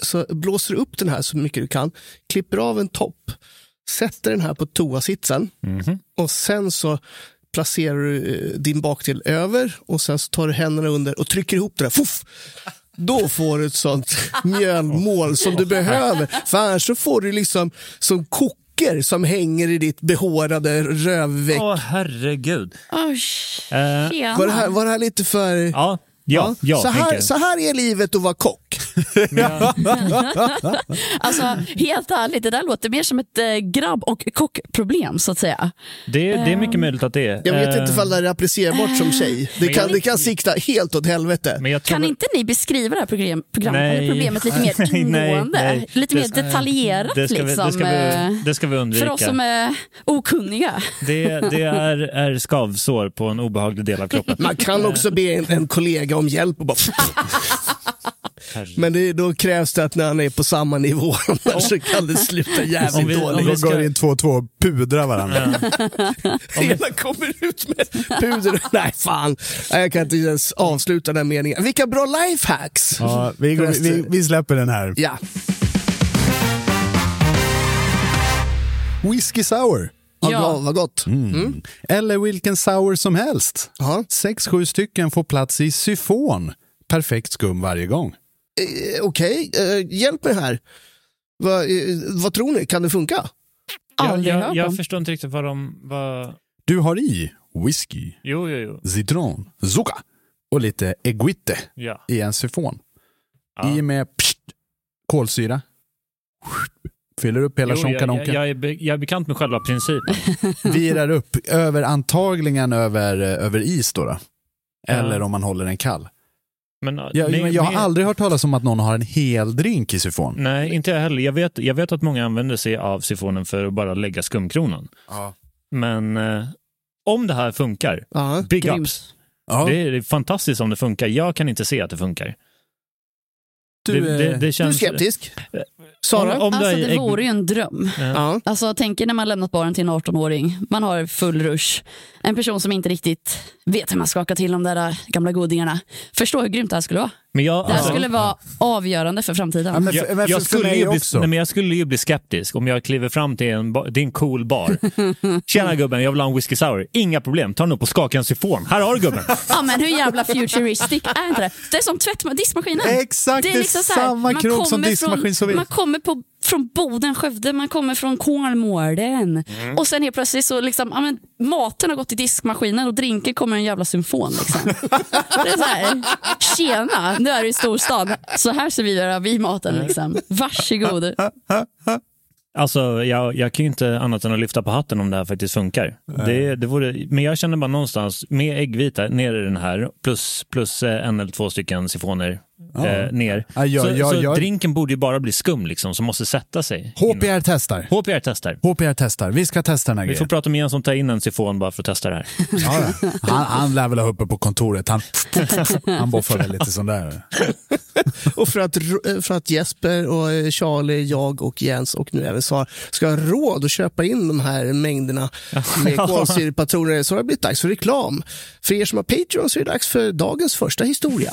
C: så blåser du upp den här så mycket du kan, klipper av en topp, sätter den här på toasitsen och sen så placerar du eh, din bakdel över och sen så tar du händerna under och trycker ihop det där. Fuff! Då får du ett sånt mjölmål som du behöver. För annars så får du liksom som koker som hänger i ditt behårade rövväck.
E: Åh, herregud.
D: Oh,
E: Eh,
D: tjena.
C: Var det, här, var det här lite för...
E: ja, ja, ja,
C: så, här,
E: tänker.
C: så här är livet att vara kock.
D: Alltså, helt ärligt, det där låter mer som ett eh, grabb och kockproblem så att säga.
E: Det, det är mycket möjligt att det är.
C: Jag vet
E: Eh,
C: inte om det här är applicerbart som tjej. Det kan, det
D: Eh,
C: kan sikta helt åt helvete.
E: Men jag tror
D: Kan inte ni beskriva det här program, program,
E: Nej.
D: eller problemet lite mer
E: [laughs] Nej, nej,
D: ingående?
E: nej.
D: Lite
E: Det
D: mer
E: ska-
D: detaljerat?
E: det ska vi,
D: liksom,
E: det ska vi,
D: eh,
E: det ska vi
D: för
E: undvika.
D: oss som är okunniga.
E: Det, det är, är skavsår på en obehaglig del av kroppen. Eh.
C: Man kan också be en, en kollega om hjälp och bara... Men det, då krävs det att när han är på samma nivå, [laughs] annars så kan det sluta
E: Om
C: jävligt
E: vi- om
C: dåligt.
E: vi
B: De
E: ska-
B: går in två och två och pudrar varandra.
C: Hela kommer ut med puder. Nej, fan. Nej, Jag kan inte ens avsluta den här meningen. Vilka bra lifehacks!
B: Ja, vi, går, vi, vi släpper den här.
C: Ja.
B: Whiskey sour.
C: Vad,
D: Ja.
C: bra, vad gott.
E: Mm.
B: Eller vilken sour som helst.
C: Ja.
B: Sex, sju stycken får plats i syfon. Perfekt skum varje gång.
C: Eh, Okej, eh, hjälp mig här. Va, eh, vad tror ni? Kan det funka?
E: Jag,
D: Aldrig
E: jag,
D: hört
E: jag
D: om.
E: förstår inte riktigt vad de... Vad...
B: Du har i whisky,
E: Jo, jo, jo.
B: citron, zucca och lite eguite
E: Ja.
B: i en syfon.
E: Ja.
B: I med pst, kolsyra. Fyller upp hela
E: Jo, jag, jag,
B: tjonkanonken.
E: jag, är be, jag är bekant med själva principen.
B: [laughs] Virar upp, över, antagligen över, över is då. då. Eller om man håller den kall.
E: Men,
B: Jag,
E: men-
B: men jag har
E: men-
B: aldrig hört talas om att någon har en hel drink i syfon.
E: Nej, inte jag heller. Jag vet, jag vet att många använder sig av sifonen för att bara lägga skumkronan. Men eh, om det här funkar,
C: Ja.
E: big
D: Grymt.
E: ups.
B: Ja.
E: Det är fantastiskt om det funkar. Jag kan inte se att det funkar.
B: Du,
E: det, det,
B: eh,
E: det
C: Du är
E: känns...
C: skeptisk? Sara?
E: Om, om
D: Alltså,
E: du är
D: det
E: ägg...
D: vore ju en dröm.
C: Ja.
D: Alltså, tänk er när man lämnat baren till en 18-åring. Man har full rush. En person som inte riktigt vet hur man skakar till de där äh, gamla godingarna. Förstå hur grymt det här skulle vara.
E: Men jag,
D: Det här
E: alltså,
D: skulle vara avgörande för framtiden.
B: Ja, men för, men
E: jag,
B: för,
E: jag,
B: för
E: skulle
B: mig
E: ju bli,
B: också.
E: nej, men jag skulle ju bli skeptisk om jag kliver fram till en, ba- till en
D: [laughs]
E: cool bar. Tjena gubben, jag vill ha en whisky sour. Inga problem, ta den upp och skaka en syfon. Här har du gubben.
D: Ja men hur jävla futuristic är inte det? Det är som tvättma- diskmaskinen. liksom
B: Exakt, det är
D: så här,
B: samma
D: man
B: krok som
D: kommer
B: diskmaskin som vi-
D: från, Man kommer på, från Boden, Skövde, man kommer från Kolmården. Och sen helt plötsligt så liksom, ja, men, maten har gått i diskmaskinen och drinken kommer i en jävla symfon. Liksom. det är så här, tjena, nu är du i storstan. Så här serverar vi maten. Liksom.
F: [laughs]
D: Varsågod.
E: Alltså, jag, jag kan ju inte annat än att lyfta på hatten om det här faktiskt funkar. Det, det vore, men jag känner bara någonstans, med äggvita ner i den här, plus, plus eh, en eller två stycken sifoner eh, ner.
B: Ja, jag-
E: så
B: jag-
E: så
B: jag-
E: drinken borde ju bara bli skum, liksom, som måste sätta sig. innan-
B: HPR testar.
E: HPR testar.
B: HPR testar. Vi ska testa den här
E: Vi får
B: grejen.
E: prata med en som tar in en sifon bara för att testa det här.
B: [laughs] Ja, ja. han, han lär väl ha uppe på kontoret. Han, han boffar väl lite sån där.
C: och för att, för att Jesper, och Charlie, jag och Jens och nu även Svar ska ha råd att köpa in de här mängderna
E: [laughs]
C: med kolsyrepatroner så har det blivit dags för reklam. För er som har Patreon så är det dags för dagens första historia.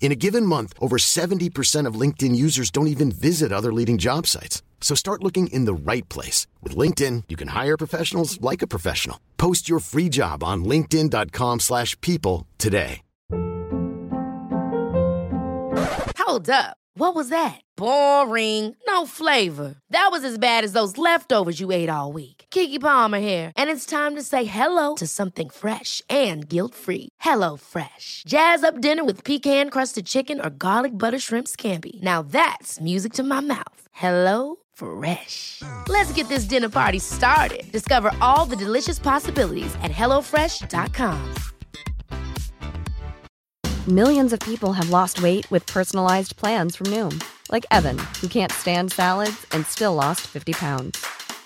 G: In a given month, over 70% of LinkedIn users don't even visit other leading job sites. So start looking in the right place. With LinkedIn, you can hire professionals like a professional. Post your free job on linkedin.com/people slash people today.
H: Hold up. What was that? Boring. No flavor. That was as bad as those leftovers you ate all week. Kiki Palmer here, and it's time to say hello to something fresh and guilt-free. Hello Fresh. Jazz up dinner with pecan-crusted chicken or garlic butter shrimp scampi. Now that's music to my mouth. Hello Fresh. Let's get this dinner party started. Discover all the delicious possibilities at hellofresh.com.
I: Millions of people have lost weight with personalized plans from Noom, like Evan, who can't stand salads and still lost 50 pounds.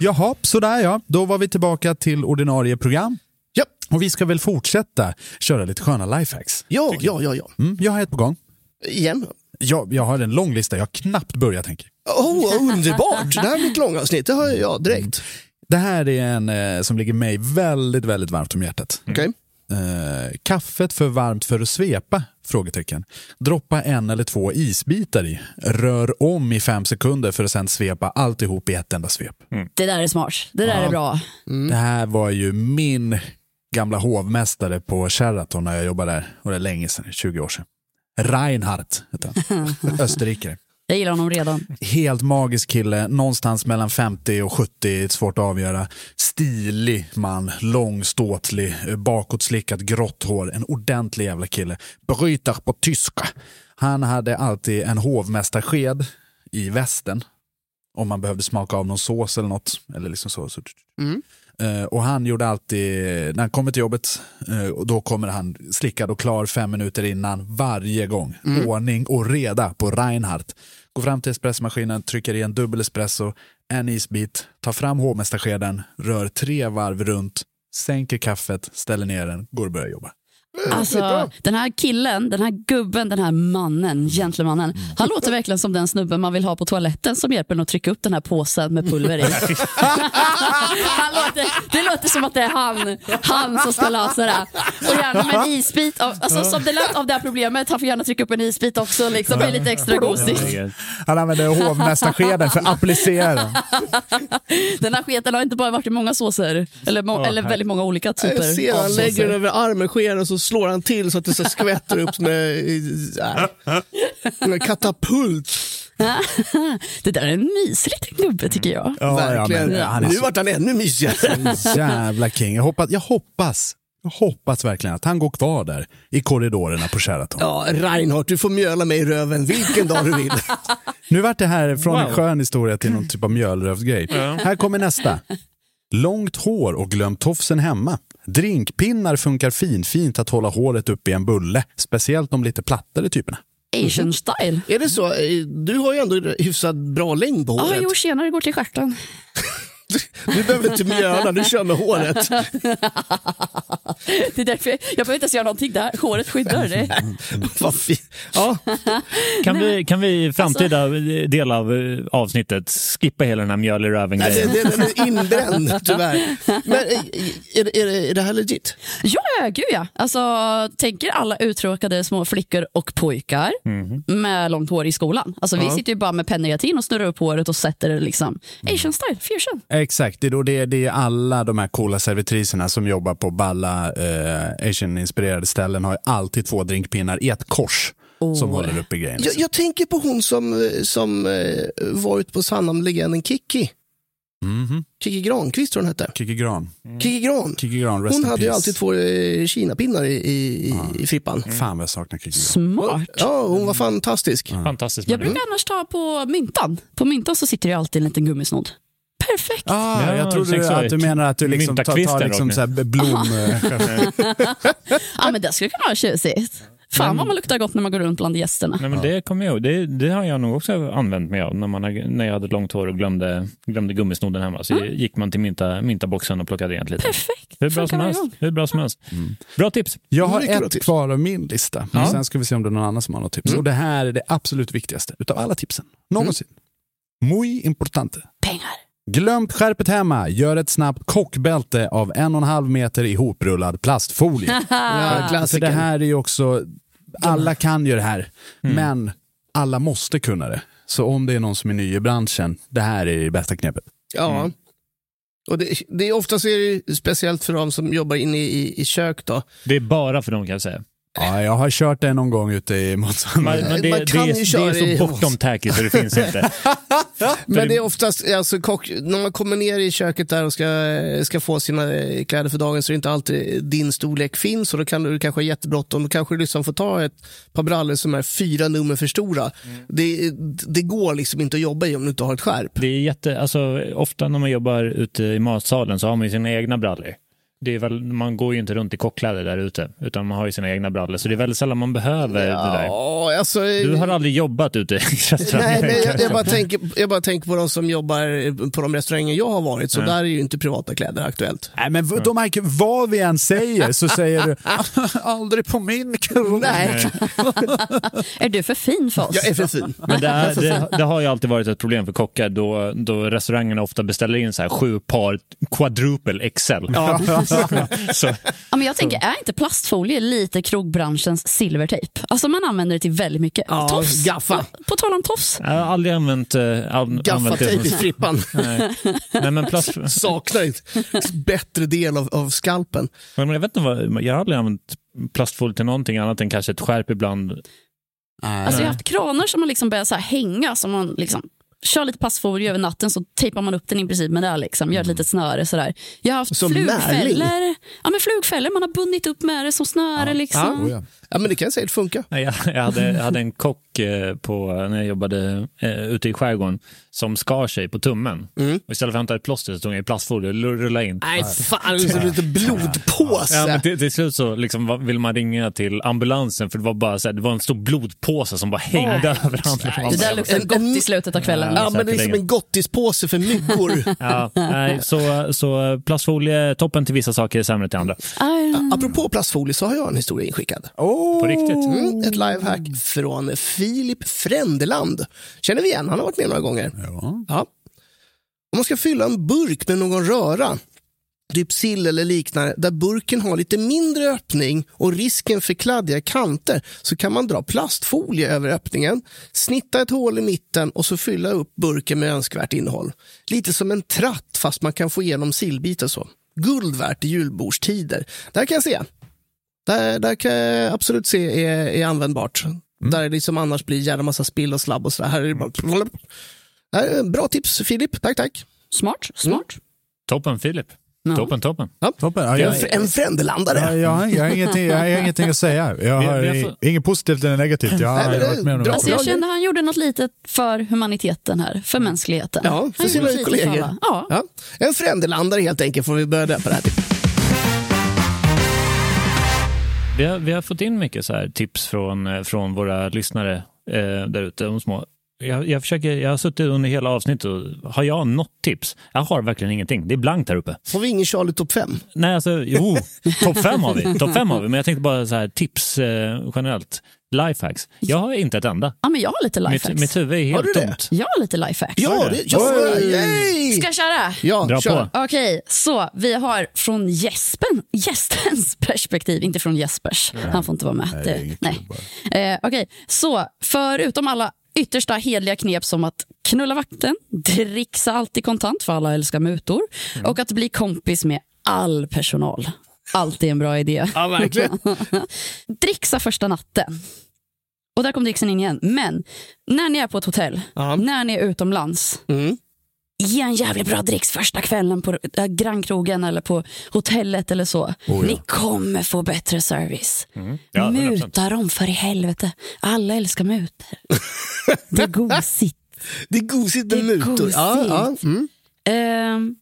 B: Jaha, sådär ja. Då var vi tillbaka till ordinarie program.
C: Ja,
B: Och vi ska väl fortsätta köra lite sköna lifehacks.
C: ja, ja, ja. ja.
B: Mm, jag har ett på gång.
C: Igen.
B: Jag, jag har en lång lista, jag har knappt börjat tänker. jag.
E: [laughs]
C: Oh, underbart! Det här blir ett långavsnitt, det hör jag direkt.
E: Mm.
B: Det här är en eh, som ligger mig väldigt, väldigt varmt om hjärtat.
C: Okej.
B: Eh, kaffet för varmt för att svepa? Frågetecken. Droppa en eller två isbitar i. Rör om i fem sekunder för att sen svepa alltihop i ett enda svep.
D: Det där är smart. Det där är bra.
B: Det här var ju min gamla hovmästare på Sheraton när jag jobbade där. Och det är länge sedan, 20 år sedan. Reinhardt hette han. Österrikare.
D: Jag gillar honom redan.
B: Helt magisk kille, någonstans mellan 50 och 70, svårt att avgöra. Stilig man, lång, ståtlig, bakåtslickat, grått hår. En ordentlig jävla kille. Bryter på tyska. Han hade alltid en hovmästarsked i västen. Om man behövde smaka av någon sås eller något. Eller liksom så. så. Eh, Och han gjorde alltid, när han kommer till jobbet, eh, och då kommer han slickad och klar fem minuter innan varje gång. Ordning och reda på Reinhardt. Går fram till espressomaskinen, trycker i en dubbel espresso, en isbit, tar fram hovmästarskeden, rör tre varv runt, sänker kaffet, ställer ner den, går och börjar jobba.
D: Alltså, den här killen, den här gubben, den här mannen, gentlemannen.
E: Mm.
D: Han låter verkligen som den snubben man vill ha på toaletten som hjälper en att trycka upp den här påsen med pulver i. [laughs] han låter, det låter som att det är han, han som ska lösa det. här. Och gärna med en isbit. Av, alltså, som det lät av det här problemet, han får gärna trycka upp en isbit också. Liksom, det är lite extra gosigt.
B: Han använder hovmästarskeden för att applicera.
D: Den här sketen har inte bara varit i många såser, eller, må, eller väldigt många olika
C: Jag
D: typer
C: ser
D: av
C: han lägger den
D: såser.
C: över armen, skeden, så slår han till så att det så skvätter upp med, äh, med katapult.
D: det där är en mysig liten gubbe tycker jag.
B: Ja, ja, men han är
C: nu
B: så
C: vart han
B: [laughs]
C: ännu mysigare.
B: jävla king. Jag hoppas, jag hoppas, jag hoppas verkligen att han går kvar där i korridorerna på Sheraton.
C: Ja, Reinhardt, du får mjöla mig i röven vilken dag du vill.
B: [laughs] Nu vart det här från en
E: Wow.
B: skön historia till någon typ av mjölrövsgrej. Här kommer nästa. Långt hår och glöm tofsen hemma. Drinkpinnar funkar finfint att hålla håret uppe i en bulle. Speciellt de lite plattare typerna.
D: Asian style.
C: Är det så? Eh, Du har ju ändå hyfsat bra längd på
D: Ja,
C: håret.
D: jo, tjenare, går till stjärten.
C: Du behöver inte mjöla, du kör med håret.
D: [laughs] Det är därför jag, jag behöver inte ens göra någonting där. Håret skyddar det.
C: [laughs] Vad fi- ja.
E: Kan vi, kan vi i framtida
D: Alltså-
E: del av eh, avsnittet skippa hela den här mjöl i
C: Nej, det,
E: röven-grejen?
C: Alltså, det, den
B: [laughs]
C: är inbränd tyvärr. Men eh, är, det- är, det- är det här legit?
D: Ja, ja, gud ja. Alltså, tänker alla uttråkade små flickor och pojkar
C: Mhm.
D: med långt hår i skolan. Alltså, Vi sitter ju bara med penneatin och snurrar upp håret och sätter det liksom.
C: Mm.
D: Asian style, fusion.
B: Exakt, det är, då det, det är alla de här coola servitriserna som jobbar på balla eh, Asian-inspirerade ställen har ju alltid två drinkpinnar i ett kors som håller uppe grejen. liksom.
C: Jag, jag tänker på hon som, eh, som eh, varit på Sannam-legenden Kiki.
B: Mhm.
C: Kiki Granqvist tror jag hon hette.
B: Kikki Gran.
C: Kiki Gran.
B: Kikki Gran, rest
C: Hon
B: in
C: hade ju
B: peace.
C: alltid två eh, kinapinnar i, i, i frippan.
B: Fan vad jag saknar Kikki Gran.
D: Smart.
C: Ja, hon var fantastisk.
E: Fantastiskt.
D: Jag
E: människa.
D: brukar annars ta på myntan. På myntan så sitter det ju alltid en liten gummisnodd. Perfekt.
B: Ah,
E: Ja,
B: jag trodde
E: tänk
B: du,
E: så.
B: att du menar att du liksom tar, tar
E: Myntakvisten
B: liksom
E: rakt
B: så här blom... eh,
D: Ja, men det skulle kunna vara tjusigt. Fan vad man luktar gott när man går runt bland gästerna.
E: Nej, men det kommer jag ihåg. Det, det har jag nog också använt mig av när, man, har- när jag hade långt hår och glömde, glömde gummisnodden hemma. Så gick man till mynta, myntaboxen och plockade rent lite.
D: Mm. Perfekt.
E: Hur bra
D: Funkar
E: som
D: varje
E: helst.
D: gång.
E: Hur bra som helst.
C: Mm.
E: Bra tips.
B: Jag har
C: Mycket bra
B: ett
C: tips.
B: kvar av min lista.
E: Ja.
B: Sen ska vi se om det är någon annan som har något tips. Och det här är det absolut viktigaste utav alla tipsen. Någonsin. Muy importante.
D: Pengar.
B: Glömt skärpet hemma. Gör ett snabbt kockbälte av en och en halv meter ihoprullad plastfolie.
C: Ja,
B: För
C: klassiker.
B: det här är ju också... Alla kan ju det här, men alla måste kunna det. Så om det är någon som är ny i branschen, det här är det bästa knepet.
C: Ja.
E: Mm.
C: Och det, det är oftast är det ju speciellt för de som jobbar inne i, i kök. Då.
E: Det är bara för dem kan jag säga.
B: Ja, jag har kört det någon gång ute i
E: Man,
B: Mozzambique.
E: men det,
C: man kan
E: det,
C: ju
E: är,
C: köra
E: det är
C: i-
E: så bortom tacky så det
C: [laughs]
E: finns inte.
C: Men
E: det-
C: det är oftast, alltså, kock, när man kommer ner i köket där och ska, ska få sina eh, kläder för dagen så är det inte alltid din storlek finns och då kan du kanske ha jättebråttom. Då kanske du liksom får ta ett par brallor som är fyra nummer för stora.
E: Mm.
C: Det, det går liksom inte att jobba i om du inte har ett skärp.
E: Det är jätte, alltså, ofta när man jobbar ute i matsalen så har man ju sina egna brallor. Det är väl, man går ju inte runt i kockkläder där ute, utan man har ju sina egna brallor. Så det är väldigt sällan man behöver det där.
C: Ja, alltså,
E: Du har aldrig jobbat ute i
C: Nej,
E: restauranger?
C: men jag, jag, bara tänker, jag bara tänker på de som jobbar på de restauranger jag har varit, så där är ju inte privata kläder aktuellt.
B: Nej, men v- de märker, vad vi än säger så säger du [laughs] aldrig på min krog.
C: Nej,
D: [laughs] Är du för fin för oss?
C: jag är för fin.
E: Men det, är, det, det har ju alltid varit ett problem för kockar då, då restaurangerna ofta beställer in så här sju par quadruple XL. [laughs] så,
D: Ja, men jag tänker, är inte plastfolie lite krogbranschens silvertejp? Alltså man använder det till väldigt mycket.
C: Ja,
D: tofs.
C: gaffa.
D: På, på tal om tofs.
E: jag har aldrig använt, eh, an, använt
C: Gaffatejp
E: det.
C: i
E: Som,
C: frippan.
E: nej. nej, men plast,
C: Saknar inte bättre del av, av skalpen.
E: men jag, vet inte vad, jag har aldrig använt plastfolie till någonting annat än kanske ett skärp ibland.
D: Alltså, jag har haft kranar som man liksom börjar så här hänga, som man liksom kör lite plastfolie över natten så tejpar man upp den i princip med det här, liksom, gör ett litet snöre. Sådär. Jag har haft
C: Mm. Som
D: flugfällor. Ja, men flugfällor man har bundit upp med det som snöre. Liksom.
B: Oh, ja.
C: Ja, men det kan säkert funka.
E: Nej, Jag, jag, hade, jag hade en kock eh, på, när jag jobbade eh, ute i skärgården som skar sig på tummen. Och istället för att hämta ett plåster så tog jag i plastfolie och rullade in.
C: Nej, fan, det är som en liten
E: Ja, men
C: blodpåse.
E: till, till slut så liksom, vad- vill man ringa till ambulansen för det var bara så här, det var en stor blodpåse som bara hängde över
D: Det
E: ambulansen.
D: där luktar
C: En-
D: gott i slutet av kvällen.
C: Ja, men det är som
E: säkerligen.
C: en gottispåse
B: [laughs]
C: för myggor.
E: Ja, nej, så, så plastfolie, toppen till vissa saker, sämre till andra.
C: Apropå plastfolie så har jag en historia inskickad.
E: På riktigt.
B: Oh.
C: Mm, ett lifehack från Filip Frändeland. Känner vi igen, han har varit med några gånger. Ja. Om man ska fylla en burk med någon röra, typ sill eller liknande, där burken har lite mindre öppning och risken för kladdiga kanter, så kan man dra plastfolie över öppningen, snitta ett hål i mitten och så fylla upp burken med önskvärt innehåll. Lite som en tratt, fast man kan få igenom sillbitar så. Guld värt i julbordstider. Där kan jag se. Där, där kan jag absolut se är, är användbart.
B: Mm.
C: Där det liksom annars blir gärna massa spill och slabb och sådär. Här är det bara... Nej, Bra tips Filip, tack tack.
D: Smart, smart.
E: Toppen Filip. Toppen, toppen.
B: Toppen. Ja,
C: En,
B: jag,
C: fr- en frändelandare.
B: jag, jag, jag, har ingenting, jag har ingenting att säga. Jag
E: Vi-
B: har
E: vi har
B: i-
E: fått-
B: inget positivt eller negativt. Jag har
C: Nej, men
B: aldrig
C: det-
B: varit med om
C: bra.
B: det.
D: Alltså jag kände han gjorde något litet för humaniteten här, för mänskligheten.
C: Ja, för
D: han
C: sina
D: gjorde lite
C: kollegor.
D: för alla. Ja.
C: Ja. En frändelandare helt enkelt, får vi börja döpa det här till.
E: Vi har, vi har fått in mycket så här tips från, eh, från våra lyssnare eh, där ute, de små. Jag, jag, försöker, jag har suttit under hela avsnittet och har jag något tips? Jag har verkligen ingenting. Det är blankt här uppe.
C: Får vi ingen Charlie topp 5?
E: Nej, alltså,
C: [laughs]
E: jo, topp fem har vi. Topp fem har vi, men jag tänkte bara så här tips eh, generellt. Lifehacks. Jag har inte ett enda.
D: ja, men jag har lite
E: Mitt,
D: lifehacks.
E: mitt huvud är
C: Har du
E: helt
C: det?
E: tomt.
D: Jag har lite lifehacks.
C: Ja, det, ja,
B: Oj.
C: yay!
D: Ska jag köra?
C: ja
E: Dra
C: kör.
E: på.
D: Okej, så vi har från gäspen, [laughs] gästens perspektiv, inte från Jespers. Han får inte vara med.
B: det är inget
D: nej.
B: kul bara.
D: Eh, Okej, så förutom alla yttersta hedliga knep som att knulla vakten, dricksa alltid kontant för alla älskar mutor och att bli kompis med all personal. Alltid en bra idé.
C: Ja, verkligen.
D: [laughs] dricksa första natten. Och där kom dricksen in igen. Men när ni är på ett hotell,
C: Ja.
D: när ni är utomlands,
C: Mm.
D: ge en jävligt bra dricks första kvällen på äh, grannkrogen eller på hotellet eller
C: Oh,
D: så. Ni kommer få bättre service.
C: Mm.
E: Ja, 100%.
D: Muta dem för i helvete. Alla älskar mutor. Det är gosigt.
C: [laughs] Det är gosigt
D: Det
C: med
D: är
C: mutor. Ja, ja.
D: gosigt.
C: Mm.
D: Ehm,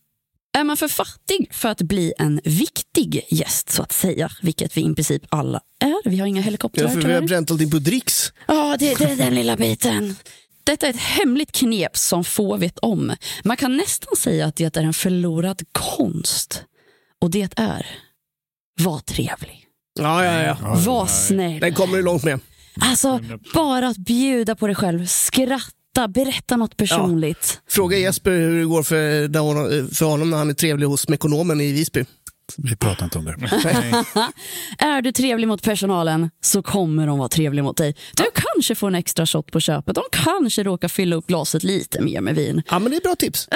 D: är man för fattig för att bli en viktig gäst så att säga, vilket vi i princip alla är. Vi har inga helikoptrar
C: Ja, för vi har
D: tyvärr.
C: bränt allting på dricks.
D: Ja, det, det är den lilla biten. Detta är ett hemligt knep som få vet om. Man kan nästan säga att det är en förlorad konst. Och det är, var trevlig.
C: Ja, ja, ja.
D: Var snäll.
C: Den kommer du långt med.
D: Alltså, bara att bjuda på dig själv, skratta, berätta något personligt.
C: Fråga Jesper hur det går för, när hon- för honom när han är trevlig hos Mekonomen i Visby.
B: Vi pratar inte om det.
D: Är du trevlig mot personalen så kommer de vara trevliga mot dig. Du kanske får en extra shot på köpet. De kanske råkar fylla upp glaset lite mer med vin.
C: Ja, men det är bra tips.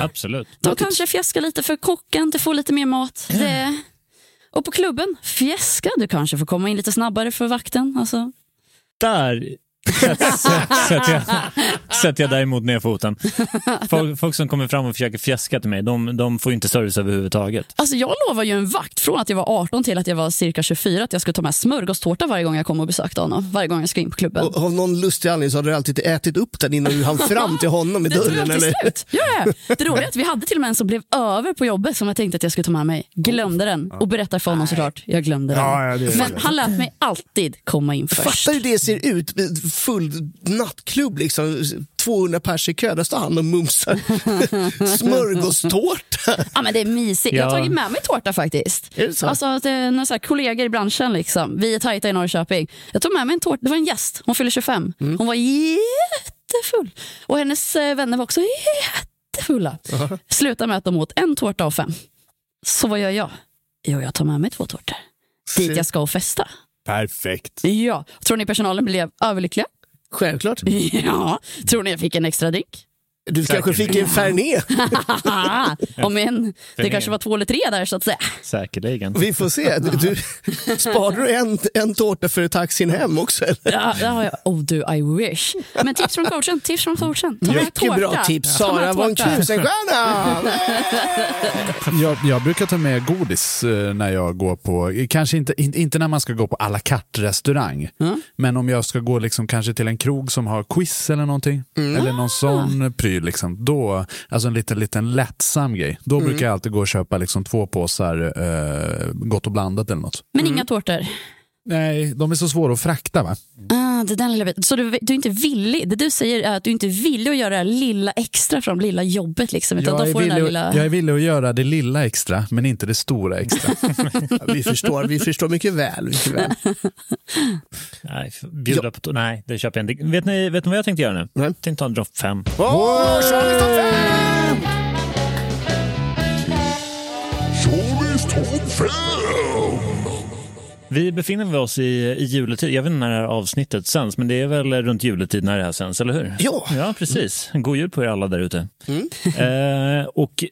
E: Absolut.
D: De kanske fjäskar lite för kocken, du får lite mer
E: [clears throat]
D: mat. Det... Och på klubben, fjäska, du kanske får komma in lite snabbare för vakten. Alltså.
E: Där
D: [laughs]
E: sätter sätt, sätt jag, sätt jag däremot ner foten. Folk, folk som kommer fram och försöker fjäska till mig, de, de får ju inte service överhuvudtaget.
D: Alltså, jag lovade ju en vakt från att jag var 18 till att jag var cirka 24 att jag skulle ta med smörgåstårta varje gång jag kom och besökte honom. Varje gång jag skulle in på klubben.
C: Och av någon lustig anledning så har du alltid ätit upp den innan du hann fram till honom i
D: Det tog
C: dörren.
D: alltid
C: Eller?
D: slut. Ja, ja. Det roliga är att vi hade till och med en som blev över på jobbet som jag tänkte att jag skulle ta med mig. Glömde den och berättade för honom såklart. Jag glömde den.
B: Ja, ja, det är
D: Men han lät mig alltid komma in först.
C: Fattar du hur det ser ut? Full nattklubb, liksom. 200 pers i kö. Där står han
D: [laughs]
C: och mumsar smörgåstårta.
D: Ja, men det är mysigt. Jag har
E: Ja.
D: tagit med mig tårta faktiskt.
C: Är det så?
D: Alltså, att, eh, några så här kollegor i branschen. Liksom. Vi är tajta i Norrköping. Jag tog med mig en tårta. Det var en gäst. Hon fyllde 25.
C: Mm.
D: Hon var jättefull. Och hennes eh, vänner var också jättefulla. Slutade med att de åt en tårta av fem. Så vad gör jag? Jo, jag tar med mig två tårtor. Dit jag ska och festa.
B: Perfekt.
D: Ja. Tror ni personalen blev överlyckliga?
C: Självklart.
D: [laughs] Ja. Tror ni jag fick en extra drink?
C: Du kanske fick en Fernet.
D: Haha. [laughs] Om en. Det kanske var två eller tre där så att säga.
E: Säkerligen.
C: Vi får se. Du, du, sparar du en, en tårta för taxin hem också? Eller?
D: Ja, det har jag. Oh du, I wish. Men tips från coachen. Tips från coachen. Ta med tårta.
C: Mycket bra tips.
D: Ta med
C: Sara var en
D: tårta.
C: tusenstjärna!
B: Jag, jag brukar ta med godis eh, när jag går på, kanske inte, in, inte när man ska gå på à la carte restaurang,
D: Mm.
B: men om jag ska gå liksom kanske till en krog som har quiz eller någonting,
D: Mm.
B: eller
D: Ah.
B: någon sån pryl, liksom, då, alltså en liten, liten lättsam grej, då
D: Mm.
B: brukar jag alltid gå och köpa liksom två påsar eh, Gott och blandat eller något.
D: Men inga tårtor.
B: Nej, de är så svåra att frakta va?
D: Ah, det där lilla bit. Så du, du är inte villig. Det du säger är att du inte är villig att göra det här lilla extra från det lilla jobbet. Liksom, utan
B: Jag
D: de
B: är,
D: får den där
B: villig,
D: lilla...
B: att- jag är villig att göra det lilla extra, men inte det stora
D: [laughs]
B: extra.
C: Vi förstår, vi förstår mycket väl. Mycket väl.
E: Nej, f- bjuda på... to- Nej, det köper jag inte. Vet ni, vet ni vad jag tänkte göra nu?
C: Nej.
E: Jag tänkte ta en dropp fem.
C: Åh, Charlie topp fem!
E: Vi befinner oss i, i juletid. Jag vet inte när det här avsnittet sänds, men det är väl runt juletid när det här sänds, eller hur?
C: Ja.
E: Ja, precis. God jul på er alla där ute.
C: Mm.
E: Eh, och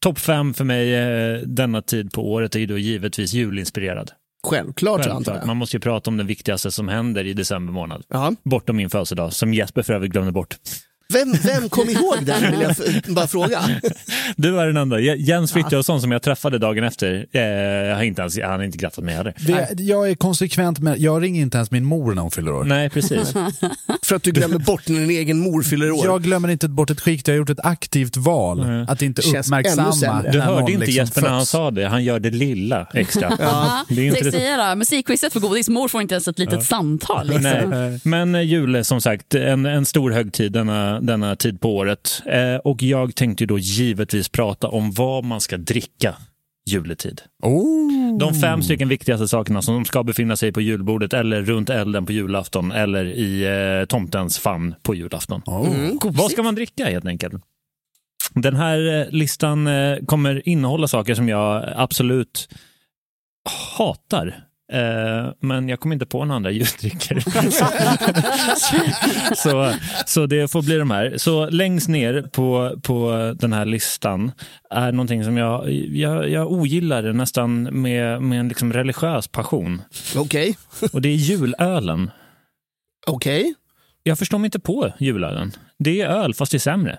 E: topp fem för mig eh, denna tid på året är ju då givetvis julinspirerad.
C: Självklart, så antar
E: Självklart.
C: jag.
E: Man måste ju prata om det viktigaste som händer i december månad.
C: Ja.
E: Bortom min födelsedag, som Jesper för övrigt glömde bort.
C: Vem, vem kom ihåg den, vill jag f- bara fråga.
E: [laughs] Du är den enda. Je- Jens Frithiofsson som jag träffade dagen efter, eh, har inte ens, han har inte grattat mig heller.
B: Det, jag är konsekvent med, jag ringer inte ens min mor när hon fyller år. [laughs]
E: Nej, precis.
C: För att du glömmer bort när din egen mor fyller år.
B: Jag glömmer inte bort ett skikt, jag har gjort ett aktivt val att inte
C: Känns ännu
B: uppmärksamma
C: sämre.
E: Mm. Du
B: när någon
E: hörde inte
B: liksom
E: Jesper när han
B: föds.
E: sa det, han gör det lilla extra.
D: Ja,
E: Det är
D: det
E: inte
D: jag
E: det-
D: säga då. Musikquizet för godis. Mor får inte ens ett litet samtal. Liksom.
E: Nej. [laughs] Men eh, jul är som sagt en, en stor högtid denna, denna tid på året. Eh, och jag tänkte ju då givetvis prata om vad man ska dricka juletid.
B: Oh.
E: De fem stycken viktigaste sakerna som ska befinna sig på julbordet eller runt elden på julafton eller i eh, tomtens famn på julafton.
B: Oh.
E: Vad ska man dricka helt enkelt? Den här eh, listan eh, kommer innehålla saker som jag absolut hatar. Eh, Men jag kom inte på några andra [laughs] ljusdrycker. [laughs] så, så det får bli de här. Så längst ner på, på den här listan är någonting som jag, jag, jag ogillar det nästan med, med en liksom religiös passion.
C: Okej,
E: Och det är julölen.
C: okej.
E: Jag förstår mig inte på julölen. Det är öl fast det är sämre.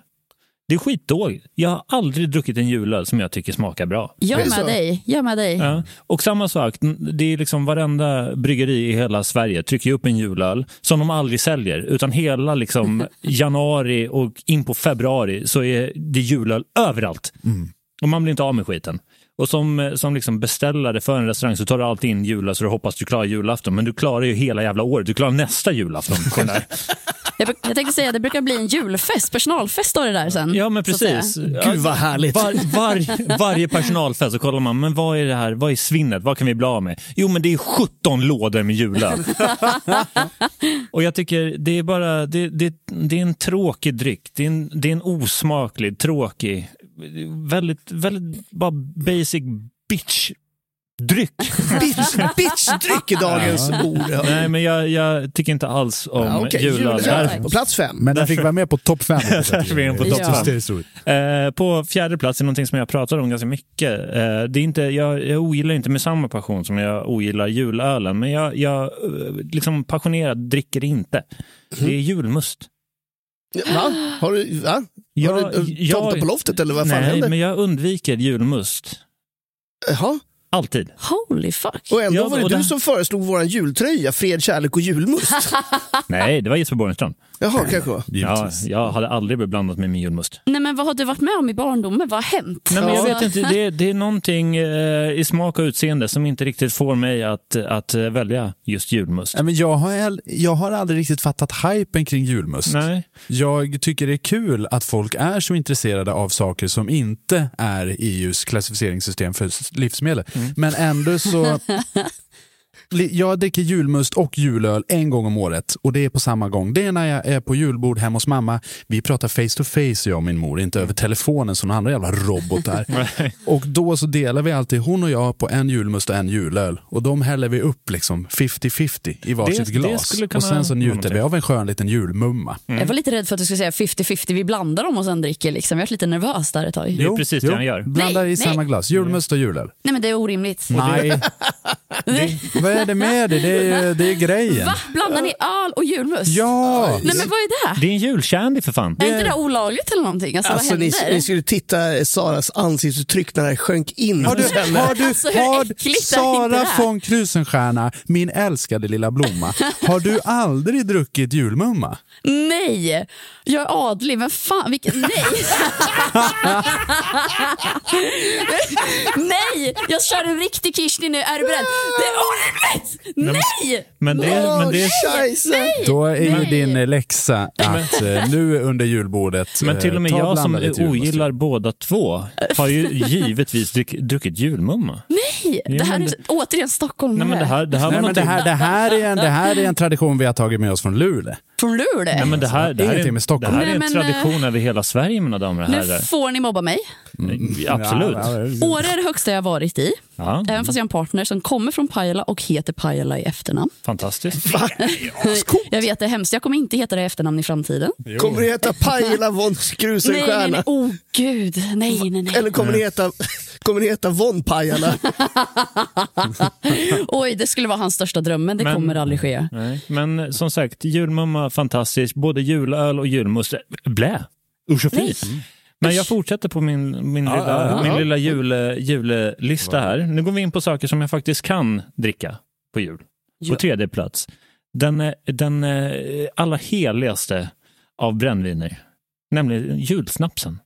E: Det är skitdåligt. Jag har aldrig druckit en julöl som jag tycker smakar bra.
D: Jag
C: Är
D: är
C: det
D: med
C: så?
D: dig. Jag är med dig.
E: Ja. Och samma sak, det är liksom varenda bryggeri i hela Sverige trycker ju upp en julöl som de aldrig säljer. Utan hela liksom januari och in på februari så är det julöl överallt. Och man blir inte av med skiten. Och som, som liksom beställare för en restaurang så tar du alltid in julöl så du hoppas du klarar julafton. Men du klarar ju hela jävla året. Du klarar nästa julafton. på den där.
D: Jag, bruk- jag tänkte säga det brukar bli en julfest, personalfest av det där sen.
E: Ja, men
D: så att säga.
E: precis.
C: Gud, vad härligt.
E: Var, var, varje personalfest så kollar man, men vad är det här? Vad är svinnet? Vad kan vi bli av med? Jo, men det är 17 lådor
D: [laughs]
E: med julöl. Och jag tycker det är bara, det, det, det är en tråkig dryck. Det är en, det är en osmaklig, tråkig, väldigt, väldigt bara basic bitch dryck.
C: [laughs] Bitch, bitchdryck i dagens ord. Ja.
E: Nej, men jag, jag tycker inte alls om
C: Ja, okej,
E: julöl. Där-
C: På plats fem.
B: Men den fick vara med på topp fem.
E: Därför är [laughs] den på topp
D: Ja. fem.
B: Det är så.
E: Eh, på fjärde plats är någonting som jag pratar om ganska mycket. Eh, det är inte, jag, jag ogillar inte med samma passion som jag ogillar julölen, men jag, jag eh, liksom passionerat dricker inte. Det
C: Mhm.
E: är julmust.
C: Va? Har du, va? har
E: Jag-
C: du eh,
E: jag-
C: tomte på loftet eller vad fan
E: Nej,
C: händer?
E: men jag undviker julmust.
C: Jaha.
E: Alltid.
D: Holy fuck.
C: Och ändå
E: Ja,
C: var det
E: och
C: du
E: det-
C: som föreslog vår jultröja, fred, kärlek
D: [laughs]
C: och julmust.
E: Nej, det var Jesper Borgenstrand.
C: Jaha, kanske. va?
E: Ja, jag hade aldrig beblandat mig med julmust.
D: Nej, men vad har du varit med om i barndomen? Vad har hänt?
E: Nej, men jag
D: Alltså,
E: vet inte, det, det är någonting eh, i smak och utseende som inte riktigt får mig att, att eh, välja just julmust.
B: Nej, men jag, har, hell- jag har aldrig riktigt fattat hypen kring julmust.
E: Nej.
B: Jag tycker det är kul att folk är så intresserade av saker som inte är EUs klassificeringssystem för s- livsmedel.
E: Mm.
B: Men ändå
E: [laughs]
B: så... Li- Jag dricker julmust och julöl en gång om året och det är på samma gång. Det är när jag är på julbord hemma hos mamma. Vi pratar face to face jag och min mor, inte över telefonen som några andra jävla
E: [laughs]
B: robotar. och då så delar vi alltid, hon och jag, på en julmust och en julöl. Och de häller vi upp liksom 50-50 i varsitt
E: det
B: glas.
E: skulle kunna
B: och sen så
E: vara
B: njuter vi
E: någonting.
B: av en skön liten julmumma.
D: [laughs] Jag var lite rädd för att du skulle säga 50-50, vi blandar dem och sen dricker. Liksom. Jag var lite nervös där ett tag.
E: Det är precis det han gör.
B: Blandar i
D: Nej,
B: samma
D: nej.
B: glas. Julmust och julöl.
D: Nej, men det är orimligt.
E: Mm.
B: Nej. [laughs] Det, vad är det med det? Det är, ju- det är grejen.
D: Va? Blandar ni öl och julmust?
B: Ja!
D: Nej, men vad är det?
E: Det är en julkändy för fan.
D: Är inte det olagligt eller någonting? Alltså,
C: Eh, Alltså,
D: vad
C: ni,
D: händer?
C: ni skulle titta Saras ansiktsuttryck när det sjönk in.
B: Har du,
C: hos henne.
B: har du,
D: Alltså, hur äckligt är
B: har
D: inte det
B: Sara
D: här?
B: von Krusenstjerna, min älskade lilla blomma, har du aldrig druckit julmumma?
D: Nej, jag är adlig, men fan vilken... Nej! Nej, jag kör en riktig kishni nu, är du beredd? Det är orimligt! Nej!
E: Men det,
C: Åh,
E: men det,
C: scheisse.
B: Då är ju
D: Nej.
B: din läxa att eh, nu under julbordet
E: Men
B: eh,
E: till och med
B: ta
E: jag som
B: blandade till julmust.
E: ogillar båda två
D: [laughs]
E: har ju givetvis dryck, druckit julmumma.
D: Nej! Det här är återigen Stockholm.
E: Nej, men det här, det här var
B: Nej, men det,
E: någonting-
B: här, det, här är en, det här är en tradition vi har tagit med oss från Luleå.
D: Från Luleå?
E: Nej, men det här, det här,
B: Ingenting med
E: är, det
B: Stockholm.
E: här är en
D: Nej, men, eh,
E: tradition över hela Sverige, mina damer och
D: nu
E: herrar.
D: får ni mobba mig.
E: Absolut.
B: Ja, ja, ja.
D: Åre är det högsta jag varit i.
E: Ja,
D: Även fast jag har en partner som kommer från Pajala och heter Pajala i efternamn.
E: fantastiskt.
D: Jag vet, det är hemskt. Jag kommer inte heta det i efternamn i framtiden.
C: Kommer det heta Pajala von
D: Nej, nej, nej.
C: Krusenstjerna?
D: Oh, gud. Nej, nej, nej.
C: Eller kommer det heta Kommer ni heta
B: [laughs]
C: Von Pajala?
D: Oj, det skulle vara hans största dröm, men det
E: Men-
D: kommer aldrig ske.
E: Nej. Men som sagt, julmumma fantastiskt. Både julöl och julmust. Blä! Usch och fy. Men jag fortsätter på min, min lilla, min lilla jule, julelista här. Nu går vi in på saker som jag faktiskt kan dricka på jul.
D: Ja.
E: På tredje plats. Den, eh, den eh, allra heligaste av brännviner. Nämligen julsnapsen.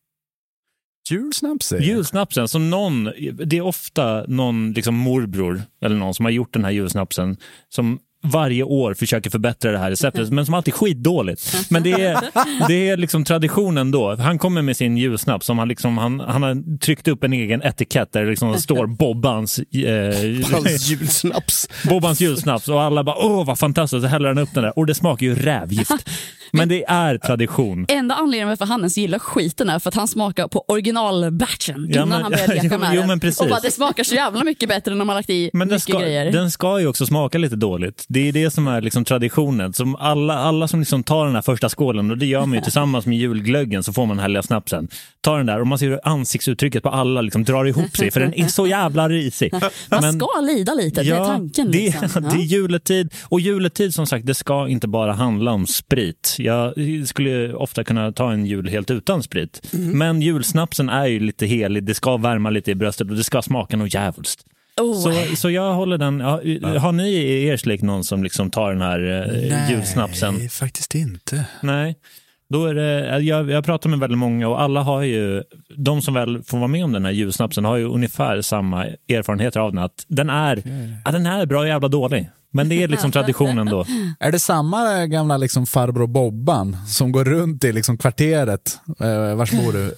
B: Julsnaps säger jag.
E: Julsnapsen som någon, det är ofta någon liksom morbror eller någon som har gjort den här julsnapsen som varje år försöker förbättra det här receptet men som alltid är skitdåligt. Men det är, det är liksom traditionen då. Han kommer med sin julsnaps som han, liksom, han, han har tryckt upp en egen etikett där det liksom står Bobbans eh,
C: Hans julsnaps.
E: Bobbans julsnaps och alla bara åh vad fantastiskt, så häller han upp den där och det smakar ju rävgift. Men det är tradition.
D: Enda anledningen varför han ens gillar skiten är för att han smakar på originalbatchen
E: Ja,
D: innan
E: men-
D: han
E: [laughs]
D: började leka
E: Jo,
D: med
E: jo,
D: den.
E: men precis.
D: Och bara, det smakar så jävla mycket bättre när man har lagt i
E: Men den
D: mycket
E: ska,
D: grejer.
E: den ska ju också smaka lite dåligt. Det är det som är liksom traditionen. Som alla, alla som liksom tar den här första skålen, och det gör man ju tillsammans med julglöggen, så får man den här lilla snapsen. Tar den där och man ser hur ansiktsuttrycket på alla liksom drar ihop sig, för den är så jävla risig.
D: Man
E: Men-
D: ska lida lite, det är tanken.
E: det,
D: liksom. Ja.
E: [laughs] det är juletid. Och juletid som sagt, det ska inte bara handla om sprit. Jag skulle ofta kunna ta en jul helt utan sprit.
D: Mm.
E: Men julsnapsen är ju lite helig, det ska värma lite i bröstet och det ska smaka något djävulskt.
D: Oh.
E: Så, så jag håller den. ja, Har ni i er släkt någon som liksom tar den här eh, julsnapsen?
B: Nej, faktiskt inte.
E: Nej. Då är det, jag, jag pratar med väldigt många och alla har ju, de som väl får vara med om den här julsnapsen har ju ungefär samma erfarenheter av den. Att den är, ja, den är bra jävla dålig. Men det är liksom traditionen då.
B: Är det samma gamla liksom farbror Bobban som går runt i liksom kvarteret? Eh, vars bor du? Eh,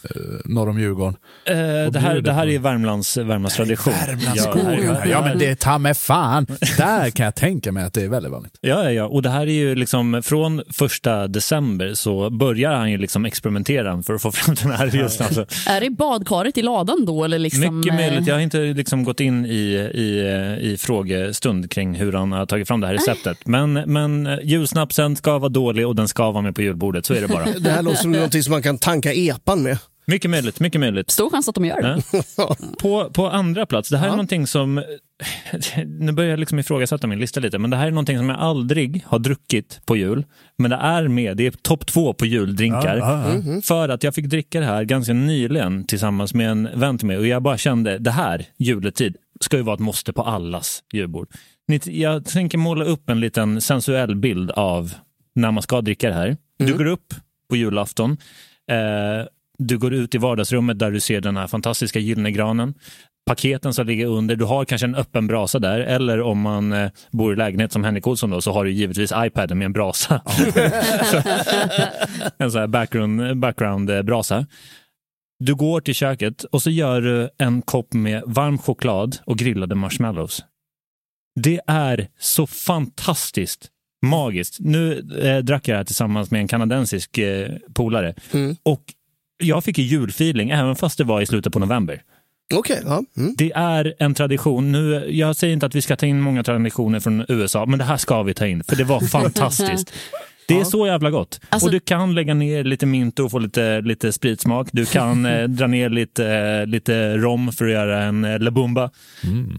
B: norr om Djurgården.
E: Eh, det, här, det här
B: på-
E: är Värmlands, Värmlands tradition. Ja, det här är-
B: Ja, men det är ta mig fan. Där kan jag tänka mig att det är väldigt vanligt.
E: Ja, ja, ja, och det här är ju liksom från första december så börjar han ju liksom experimentera för att få fram den här julsnapsen.
D: Är det badkaret i ladan då? Eller liksom,
E: Mycket
D: eh,
E: möjligt. Jag har inte liksom gått in i, i, i frågestund kring hur han har tagit fram det här receptet. Men, men eh, julsnapsen ska vara dålig och den ska vara med på julbordet. Så är det bara.
C: [laughs] Det här låter som någonting som man kan tanka epan med.
E: Mycket möjligt. Mycket möjligt.
D: Stor chans att de gör det.
E: Ja. På, på andra plats, det här är
C: Ja.
E: någonting som... [laughs] Nu börjar jag liksom ifrågasätta min lista lite, men det här är någonting som jag aldrig har druckit på jul. Men det är med, det är topp två på juldrinkar.
C: Mm.
E: För att jag fick dricka det här ganska nyligen tillsammans med en vän till mig och jag bara kände, det här, juletid, ska ju vara ett måste på allas julbord. Ni- Jag tänker måla upp en liten sensuell bild av när man ska dricka det här. Du går upp på julafton. Eh, du går ut i vardagsrummet där du ser den här fantastiska gyllene granen. Paketen som ligger under. Du har kanske en öppen brasa där. Eller om man eh, bor i lägenhet som Henrik Olsson då, så har du givetvis iPaden med en brasa. en sån här background, background eh, brasa. Du går till köket och så gör du en kopp med varm choklad och grillade marshmallows. Det är så fantastiskt magiskt. Nu eh, drack jag det här tillsammans med en kanadensisk eh, polare
C: Mm.
E: och jag fick ju julfeeling även fast det var i slutet på november.
C: Okej, ja. Mm.
E: Det är en tradition. Nu, jag säger inte att vi ska ta in många traditioner från USA, men det här ska vi ta in, för
C: [laughs]
E: det var fantastiskt. Det är så jävla gott.
D: Alltså-
E: och du kan lägga ner lite minto och få lite, lite spritsmak. Du
D: [laughs]
E: kan eh, dra ner lite, eh, lite rom för att göra en eh, labumba.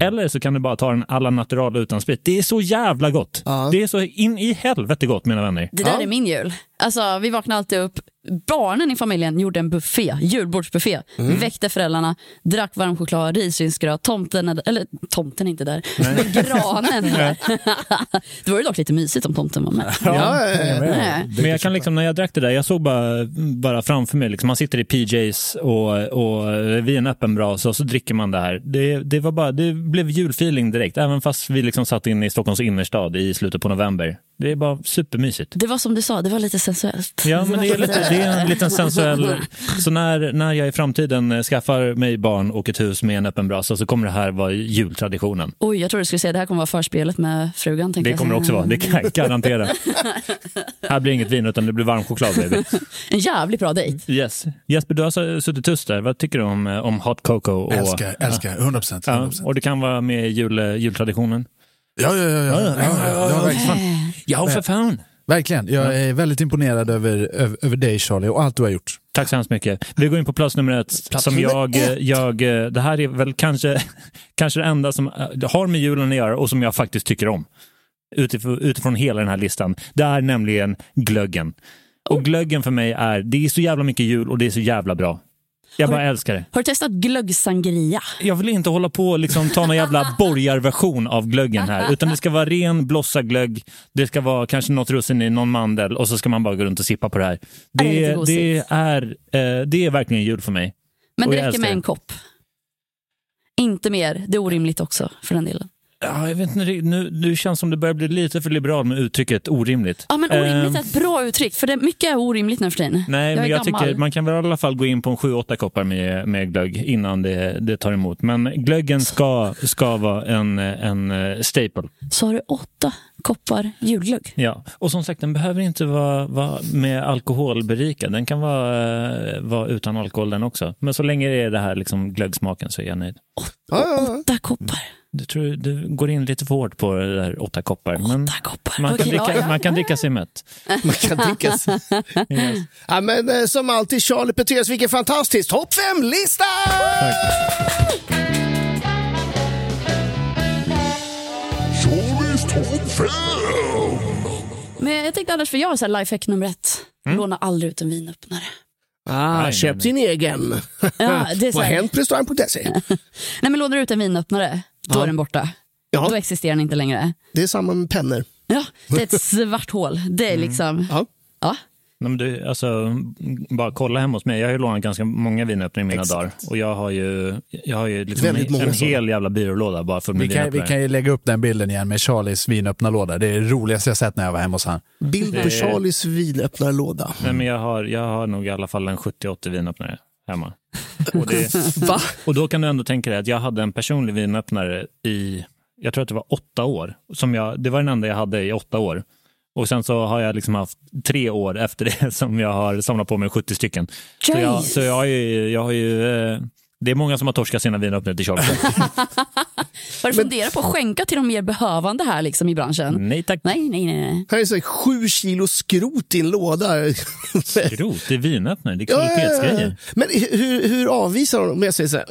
E: Eller så kan du bara ta den alla natural utan sprit. Det är så jävla gott. Det är så in i helvete gott, mina vänner.
D: Det där är min jul. Alltså, vi vaknade alltid upp. Barnen i familjen gjorde en buffé, julbordsbuffé. Vi väckte föräldrarna, drack varm choklad, risgrynsgröt, tomten, är- eller tomten är inte där, men [laughs] granen är där. [laughs] det var ju dock lite mysigt om tomten var med.
C: Ja, ja, ja.
D: Nej.
E: Men jag kan liksom, när jag drack det där, jag såg bara, mm, bara framför mig, liksom, man sitter i PJs och, och vid en öppen brasa och så dricker man det här. Det, det, var bara, det blev julfeeling direkt, även fast vi liksom satt inne i Stockholms innerstad i slutet på november. Det är bara supermysigt.
D: Det var som du sa, det var lite sensuellt.
E: Ja, men det är, lite, det är en
D: [laughs]
E: liten sensuell... Så när, när jag i framtiden eh, skaffar mig barn och ett hus med en öppen brasa så kommer det här vara jultraditionen.
D: Oj, jag trodde du skulle säga det här kommer vara förspelet med frugan. tänkte
E: Det
D: jag
E: kommer det
D: säga. Mm.
E: också vara, det
D: [laughs]
E: kan jag garantera. Här blir inget vin utan det blir varm choklad baby.
D: En jävligt bra dejt.
E: Yes. Jesper, du har så- suttit tyst där. Vad tycker du om, eh, om hot cocoa? Och,
B: Älskar, älskar. 100 procent.
E: Ja,
B: Ja,
E: och det kan vara med i jul, eh, jultraditionen.
B: ja, ja. ja, ja, ja, ja, ja, ja, ja, ja.
E: Ja, för fan.
B: Verkligen. Jag är väldigt imponerad över, över, över dig Charlie och allt du har gjort.
E: Tack så hemskt mycket. Vi går in på plats nummer ett.
B: Plats
E: som
B: nummer
E: jag, eh,
B: ett.
E: jag, det här är väl kanske, [laughs] kanske det enda som eh, det har med julen att göra och som jag faktiskt tycker om. Utifrån, utifrån hela den här listan. Det är nämligen glöggen.
B: Oh.
E: Och glöggen för mig är, det är så jävla mycket jul och det är så jävla bra. Jag bara älskar det.
D: Har du testat glöggsangria?
E: Jag vill inte hålla på och liksom ta
D: [laughs]
E: någon jävla borgarversion av glöggen här. Utan det ska vara ren blossaglögg, det ska vara kanske något russin i någon mandel och så ska man bara gå runt och sippa på det här.
D: Ja, det är lite
E: Det,
D: gosigt.
E: det, är, eh, det är verkligen jul för mig.
D: Men
E: Och
D: det
E: jag
D: räcker
E: älskar
D: med
E: det.
D: en kopp. Inte mer. Det är orimligt också för den delen.
E: Ja, jag vet inte, riktigt. nu, nu känns det som det börjar bli lite för liberal med uttrycket orimligt.
D: Ja, men orimligt är
E: Eh,
D: ett bra uttryck, för det, mycket är orimligt nu för tiden.
E: Nej,
D: jag
E: men
D: är
E: jag
D: gammal.
E: tycker man kan väl i alla fall gå in på en 7-8 koppar med, med glögg innan det, det tar emot. Men glöggen ska, ska vara en, en eh, staple.
D: Så har du åtta koppar julglögg.
E: Ja. Och som sagt, den behöver inte vara, vara med alkoholberikad. Den kan vara, eh, vara utan alkohol den också. Men så länge det är det här liksom glöggsmaken så är jag nöjd.
C: Ja, ja,
D: Åtta koppar.
E: Du, tror, du går in lite för hårt på det där åtta koppar. Men
D: Åtta koppar.
E: man kan,
D: Okej, ja,
E: dricka,
D: ja.
E: man kan dricka sig mätt.
C: ja. Man kan tänka sig. ja, men, eh, som alltid, Charlie Petrus, vilken fantastisk topp 5-lista!
D: Men jag tänkte annars, för jag har så här lifehack nummer ett.
E: Mm.
D: Låna aldrig ut en
E: [laughs]
D: vinöppnare.
C: Ah, köp din egen.
D: Ja, det är så
C: På
D: här.
C: hentprestaurang.se.
D: Nej, men lånar du ut en vinöppnare, då
C: Ja.
D: är den borta.
C: Ja.
D: Då existerar den inte längre.
C: Det är samma med pennor.
D: Ja, det är ett svart hål. Det är liksom...
C: Mm. Ja.
D: Ja.
E: Nej, men du, alltså, bara kolla hemma hos mig. Jag har ju lånat ganska många vinöppningar i mina
C: Exakt.
E: dagar. Och jag har ju, jag har ju liksom
C: Väldigt
E: en,
C: många
E: en
C: sådana.
E: hel jävla byrålåda bara full med
B: Vi kan, vi
E: vinöppnare.
B: kan ju lägga upp den bilden igen med Charlies vinöppnarlåda. Det är det roligaste jag sett när jag var hemma hos han.
C: Bild på
E: Det-
C: Charlies vinöppnarlåda.
E: Nej, men jag, har, jag har nog i alla fall en 70-80 vinöppnare hemma.
C: [laughs]
E: Och, det,
C: Va?
E: och då kan du ändå tänka dig att jag hade en personlig vinöppnare i, jag tror att det var åtta år. Som jag, det var den enda jag hade i åtta år. Och sen så har jag liksom haft tre år efter det [laughs] som jag har samlat på mig 70 stycken. Så, jag, så jag, har ju, jag har ju, eh, det är många som har torskat sina vinöppnare
C: [laughs]
E: till Charlie.
D: Har du funderat på att skänka till de mer behövande här liksom i branschen?
E: Nej tack.
D: Nej, nej, nej. nej.
C: Här är så här, sju kilo skrot i en låda.
E: Skrot, det är vinöppnare, det är
C: Ja, ja, ja, ja.
E: kvalitetsgrejer.
C: Men hur, hur avvisar de? Om jag säger så här,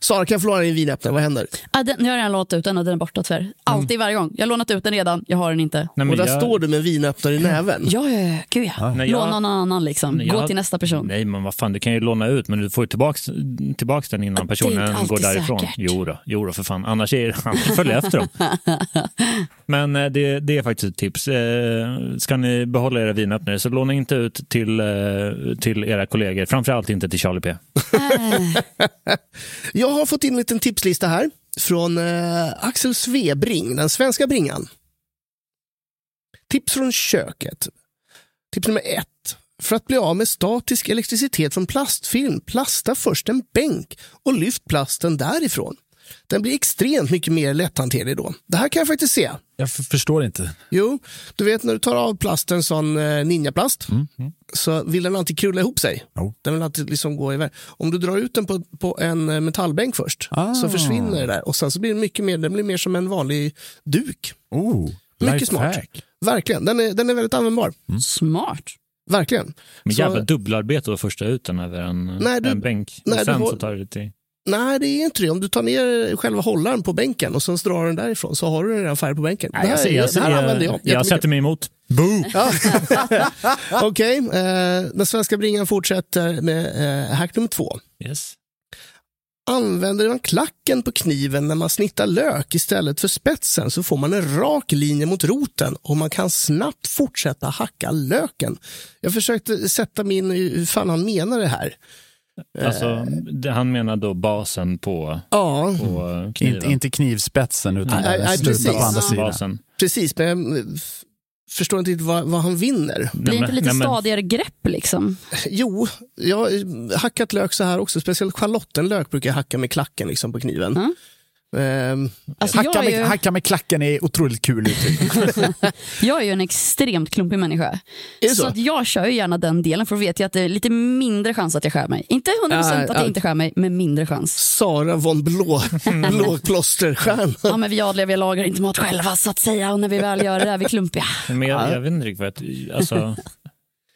C: Sara kan jag få låna din vinöppnare, vad händer?
D: Ah, den, nu har jag redan lånat ut den och den är borta
C: Mm.
D: tyvärr. Alltid varje gång. Jag har lånat ut den redan, jag har den inte.
E: Nej, men
C: Och där
E: jag-
C: står du med en vinöppnare i näven.
D: Ja, ja, ja. Gud, ja.
E: Nej, jag-
D: Låna någon annan liksom.
E: Nej,
D: Gå
E: jag-
D: till nästa person.
E: Nej, men vad fan, du kan ju låna ut, men du får ju tillbaks, tillbaks den innan
D: Ja, det är
E: personen
D: inte alltid
E: går därifrån.
D: säkert.
E: Jo då, jo då, för fan, annars är [laughs] annars följer jag
D: [laughs]
E: efter dem. Men eh, det, det är faktiskt ett tips. Eh, Ska ni behålla era vinöppnare så låna inte ut till, eh, till era kollegor, framförallt inte till Charlie P.
D: Äh,
C: Jag har fått in en liten tipslista här från eh, Axel Svebring, den svenska bringan. Tips från köket. Tips nummer ett. För att bli av med statisk elektricitet från plastfilm, plasta först en bänk och lyft plasten därifrån. Den blir extremt mycket mer lätthanterlig då. Det här kan jag faktiskt se.
B: Jag f- förstår inte.
C: Jo, du vet när du tar av plasten sån eh, ninjaplast så vill den alltid krulla ihop sig.
B: Jo.
C: Den vill alltid liksom gå iväg. Om du drar ut den på, på en eh, metallbänk först
B: Ah.
C: så försvinner det där och sen så blir den mycket mer, den blir mer som en vanlig duk.
B: Oh,
C: Mycket
B: lifehack.
C: smart. Verkligen, den är, den är väldigt användbar.
D: Smart.
C: Verkligen.
E: Mm. Men
C: Så-
E: jävla dubbelarbete att första ut den över en,
C: Nej, du-
E: en bänk.
C: nej,
E: och sen
C: du-
E: så tar du till...
C: Nej, det är inte det. Om du tar ner själva hållaren på bänken och sen drar den därifrån så har du den redan färdig på bänken.
E: Nej,
C: det här,
E: jag,
C: det här
E: jag,
C: använder jag.
E: jag, jag
C: jättemycket.
E: sätter mig emot.
C: Ja. Okej, eh, den svenska bringan fortsätter med eh, hack nummer två.
E: Yes.
C: Använder man klacken på kniven när man snittar lök istället för spetsen så får man en rak linje mot roten och man kan snabbt fortsätta hacka löken. Jag försökte sätta min hur fan han menar det här.
E: Alltså, det- han menar då basen på,
C: Ja,
E: på kniven.
B: Inte, inte knivspetsen utan
C: Nej,
B: den
C: nej,
B: slutar på
C: precis.
B: andra sidan.
E: basen.
C: precis, men jag eh, f- förstår inte riktigt vad, vad han vinner.
D: Blir
E: Nej,
D: inte
E: men-
D: lite
E: nej, men-
D: stadigare grepp liksom?
C: Jo, jag har eh, hackat lök så här också. Speciellt schalottenlök brukar jag hacka med klacken liksom på kniven.
D: Mm.
C: Ehm,
D: Alltså,
B: hacka,
D: jag, är
B: med,
D: ju,
B: hacka med klacken är otroligt kul uttryck.
D: jag är ju en extremt klumpig människa.
C: Är det
D: så
C: så?
D: att jag kör ju gärna den delen för då vet jag att det är lite mindre chans att jag skär mig. Inte 100%
C: Nej,
D: att jag
C: ja.
D: inte skär mig, men mindre chans.
C: Sara von Blå, Blåplåsterstjärnan.
D: Ja, men vi adliga vi lagar inte mat själva så att säga och när vi väl gör det är vi klumpiga.
E: Men jag, jag vet inte riktigt vad jag... Alltså,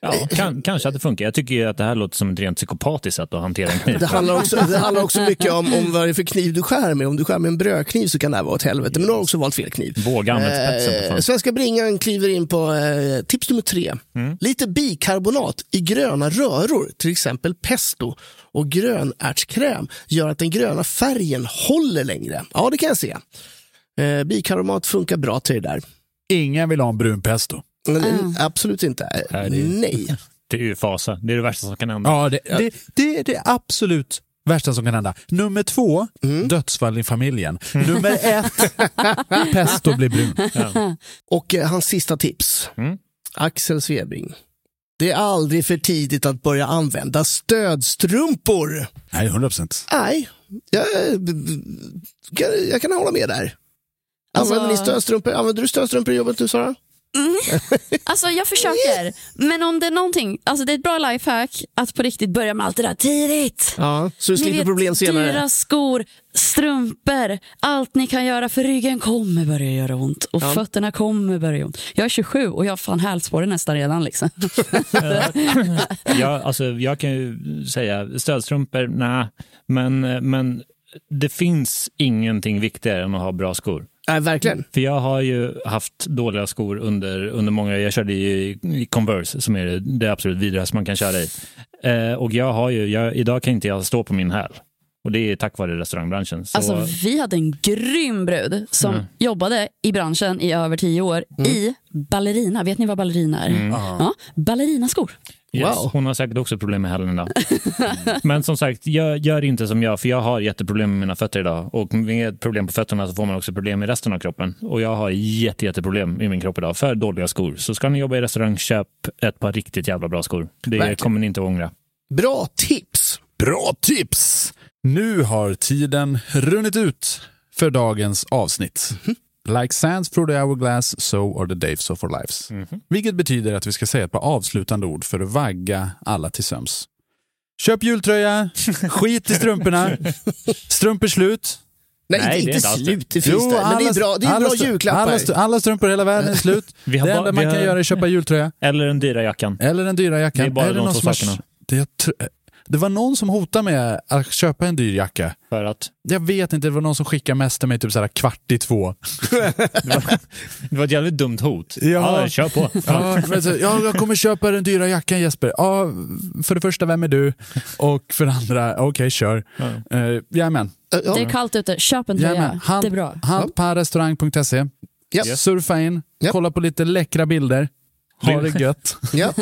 E: ja, kan, kanske att det funkar. Jag tycker ju att det här låter som ett rent psykopatiskt sätt att hantera en kniv.
C: Det handlar, också, det handlar också mycket om, om vad det är för kniv du skär med. Om du skär med en brödkniv så kan det här vara åt helvete, men du har också valt fel kniv.
E: Båga används spetsen på
C: Eh,
E: fan.
C: Svenska bringan kliver in på eh, tips nummer tre.
E: Mm.
C: Lite bikarbonat i gröna röror, till exempel pesto och grönärtskräm gör att den gröna färgen håller längre. Ja, det kan jag se. Eh, bikarbonat funkar bra till det där.
B: Ingen vill ha en brun pesto.
C: Men, Absolut inte.
E: Nej, det-
C: Nej.
E: [laughs] Det är ju fasa. Det är det värsta som kan hända.
B: Ja, det, det, det är det absolut värsta som kan hända. Nummer två,
C: Mm.
B: dödsfall i familjen. Nummer
C: [laughs]
B: ett, pesto blir brun.
C: Och eh, hans sista tips. Axel Svebring. Det är aldrig för tidigt att börja använda stödstrumpor.
B: Nej, 100 procent.
C: Nej, jag, jag, jag kan hålla med där.
D: Alltså-
C: Använder ni stödstrumpor? Använder du stödstrumpor i jobbet nu Sara?
D: Alltså jag försöker, men om det är någonting, alltså det är ett bra lifehack att på riktigt börja med allt det där tidigt.
C: Ja. Så du
D: Ni
C: slipper
D: vet,
C: problem senare?
D: Dyra skor, strumpor, allt ni kan göra för ryggen kommer börja göra ont och fötterna kommer börja göra ont. Jag är 27 och jag har fan hälsporre nästan redan. Liksom.
E: Jag, alltså, jag kan ju säga stödstrumpor, nej. Men, eh, men det finns ingenting viktigare än att ha bra skor.
C: Nej, verkligen.
E: För jag har ju haft dåliga skor under, under många Jag körde ju i Converse som är det, det absolut vidrigaste man kan köra i. Eh, och jag har ju, jag, idag kan inte jag stå på min häl. Och det är tack vare restaurangbranschen. Så,
D: Alltså, vi hade en grym brud som jobbade i branschen i över tio år i ballerina. Vet ni vad ballerina är? Ja, ballerinaskor.
E: yes,
C: wow.
E: Hon har säkert också problem med
C: [laughs]
E: hälen idag. Men som sagt, gör, gör inte som jag, för jag har jätteproblem med mina fötter idag. Och med problem på fötterna så får man också problem med resten av kroppen. Och jag har jätte, jätteproblem i min kropp idag för dåliga skor. Så ska ni jobba i restaurang, köp ett par riktigt jävla bra skor. Det
C: Verkligen.
E: kommer ni inte att ångra.
C: Bra tips!
B: Bra tips! Nu har tiden runnit ut för dagens avsnitt.
C: Mhm.
B: Like sands through the hourglass, so are the days of our lives.
C: Mhm.
B: Vilket betyder att vi ska säga ett par avslutande ord för att vagga alla till söms. Köp
C: [laughs]
B: jultröja, skit i strumporna, strumpor slut.
C: Nej,
E: Nej,
C: inte,
E: det
C: inte
E: är inte alltid.
C: slut, det finns där. Men det är bra, det är
B: alla
C: bra
B: str-
C: julklappar.
B: Alla, str- alla strumpor i hela världen är slut.
C: [laughs]
E: Vi har
B: det
E: ba-
B: enda
E: vi
B: man kan
E: har-
B: göra är att köpa jultröja.
E: Eller den dyra jackan.
B: Eller den dyra jackan.
E: Det är bara de
B: någon
E: två
B: som har-
E: sakerna.
B: Det, jag tr- det var någon som hotade med att köpa en dyr jacka.
E: För att
B: Jag vet inte, det var någon som skickade mest till mig typ så här kvart i två.
E: det var ett jävligt dumt hot.
B: Ja.
E: Ja,
C: [laughs]
E: kör på.
B: Ja, men så, ja, jag kommer köpa den dyra jackan Jesper. Ja, för det första, vem är du? Och för det andra, okej, kör. Eh, Jajamän,
C: Ja,
D: Det är kallt ute, köp en
B: jajamän.
D: tröja.
B: Hand-
D: Det är bra.
B: Handparrestaurang.se.
C: Ja.
B: E. Surfa in,
C: Ja.
B: kolla på lite läckra bilder. Ha det
E: [laughs]
B: gött.
C: ja.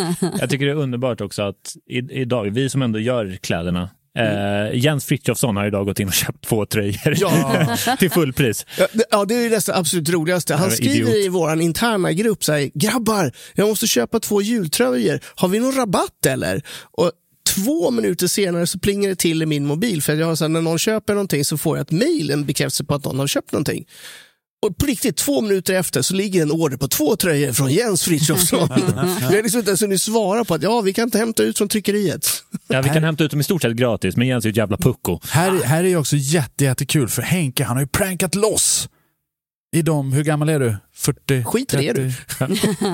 E: Jag tycker det är underbart också att i, idag, vi som ändå gör kläderna, eh,
C: Mm.
E: Jens Frithiofsson har idag gått in och köpt två tröjor [laughs] till fullpris.
C: Ja, det- Ja, det är ju nästan absolut roligaste. Han
E: Jävla
C: skriver
E: idiot.
C: i vår interna grupp så här, grabbar, jag måste köpa två jultröjor. Har vi någon rabatt eller? Och Två minuter senare så plingar det till i min mobil för jag har så här, när någon köper någonting så får jag ett mejl, en bekräftelse på att någon har köpt någonting. Och på riktigt, två minuter efter så ligger en order på två tröjor från Jens Frithiofsson. Vi har liksom inte ens hunnit svara på att ja, vi kan inte hämta ut från tryckeriet.
E: Ja, vi kan hämta ut dem i stort sett gratis, men Jens är ju ett jävla pucko.
B: Här, här är ju också jätte, jättekul för Henke, han har ju prankat loss. I de, hur gammal är du? 40?
C: Skiter är du.
E: [laughs]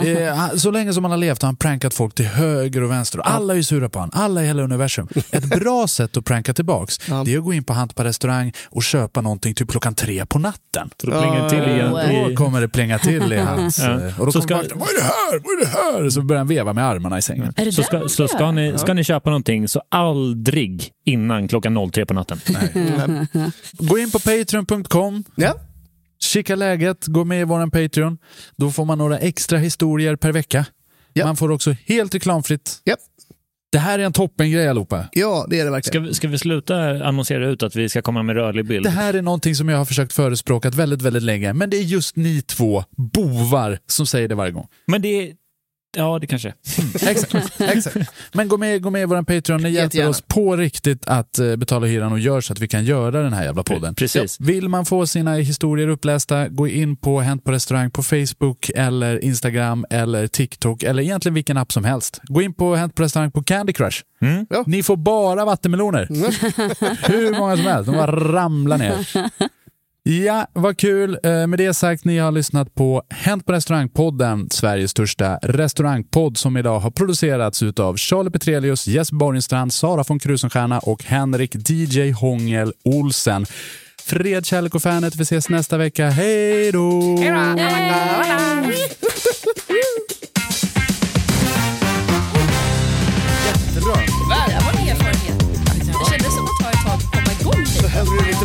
B: 30. Eh, han- Så länge som han har levt har han prankat folk till höger och vänster. Och alla är ju sura på honom. Alla i hela universum. Ett
E: [laughs]
B: bra sätt att pranka tillbaks det är att gå in på Hant på restaurang och köpa någonting typ klockan tre på natten.
E: För då plingar det till igen.
B: Då
E: i-
B: kommer det plinga
E: [laughs]
B: till i hans...
E: Ja.
B: eh, Och då
E: Så
B: kommer
E: ska-
B: vakten, vad är det här? Vad är det här? Så börjar han veva med armarna i sängen.
D: Är det
E: Så
D: där
E: ska,
D: man
E: så
D: gör?
E: ska, ni, ska ni köpa någonting, så aldrig innan klockan 03 på natten.
B: Gå in på patreon.com
C: Ja.
B: Kika läget, gå med i vår Patreon. Då får man några extra historier per vecka.
C: Ja.
B: Man får också helt reklamfritt.
C: Ja.
B: Det här är en toppengrej allihopa.
C: ja, det är det verkligen.
E: Ska, vi- ska vi sluta annonsera ut att vi ska komma med rörlig bild?
B: Det här är någonting som jag har försökt förespråka väldigt, väldigt länge. Men det är just ni två bovar som säger det varje gång.
E: Men det är Ja, det
J: [laughs]
E: kanske.
B: [laughs] Exakt. exakt. Men gå med, gå med i vår Patreon. Ni hjälper
C: Jättegärna.
B: oss på riktigt att eh, betala hyran och gör så att vi kan göra den här jävla podden.
E: Precis.
B: Ja. Vill man få sina historier upplästa, gå in på Hänt på restaurang på Facebook eller Instagram eller TikTok eller egentligen vilken app som helst. Gå in på Hänt på restaurang på Candy Crush.
C: Ja.
B: Ni får bara vattenmeloner. Hur många som helst. De bara ramlar ner. Ja, vad kul. Eh, Med det sagt, ni har lyssnat på Hänt på restaurangpodden, Sveriges största restaurangpodd som idag har producerats utav Charlie Petrelius, Jesper Borgenstrand, Sara von Krusenstjerna och Henrik DJ Hångel Olsen. Fred, kärlek och fanet. Vi ses nästa vecka. Hej då!
D: Det var en erfarenhet. Det kändes som att ta ett tag att komma igång. lite.
C: Behöver du lite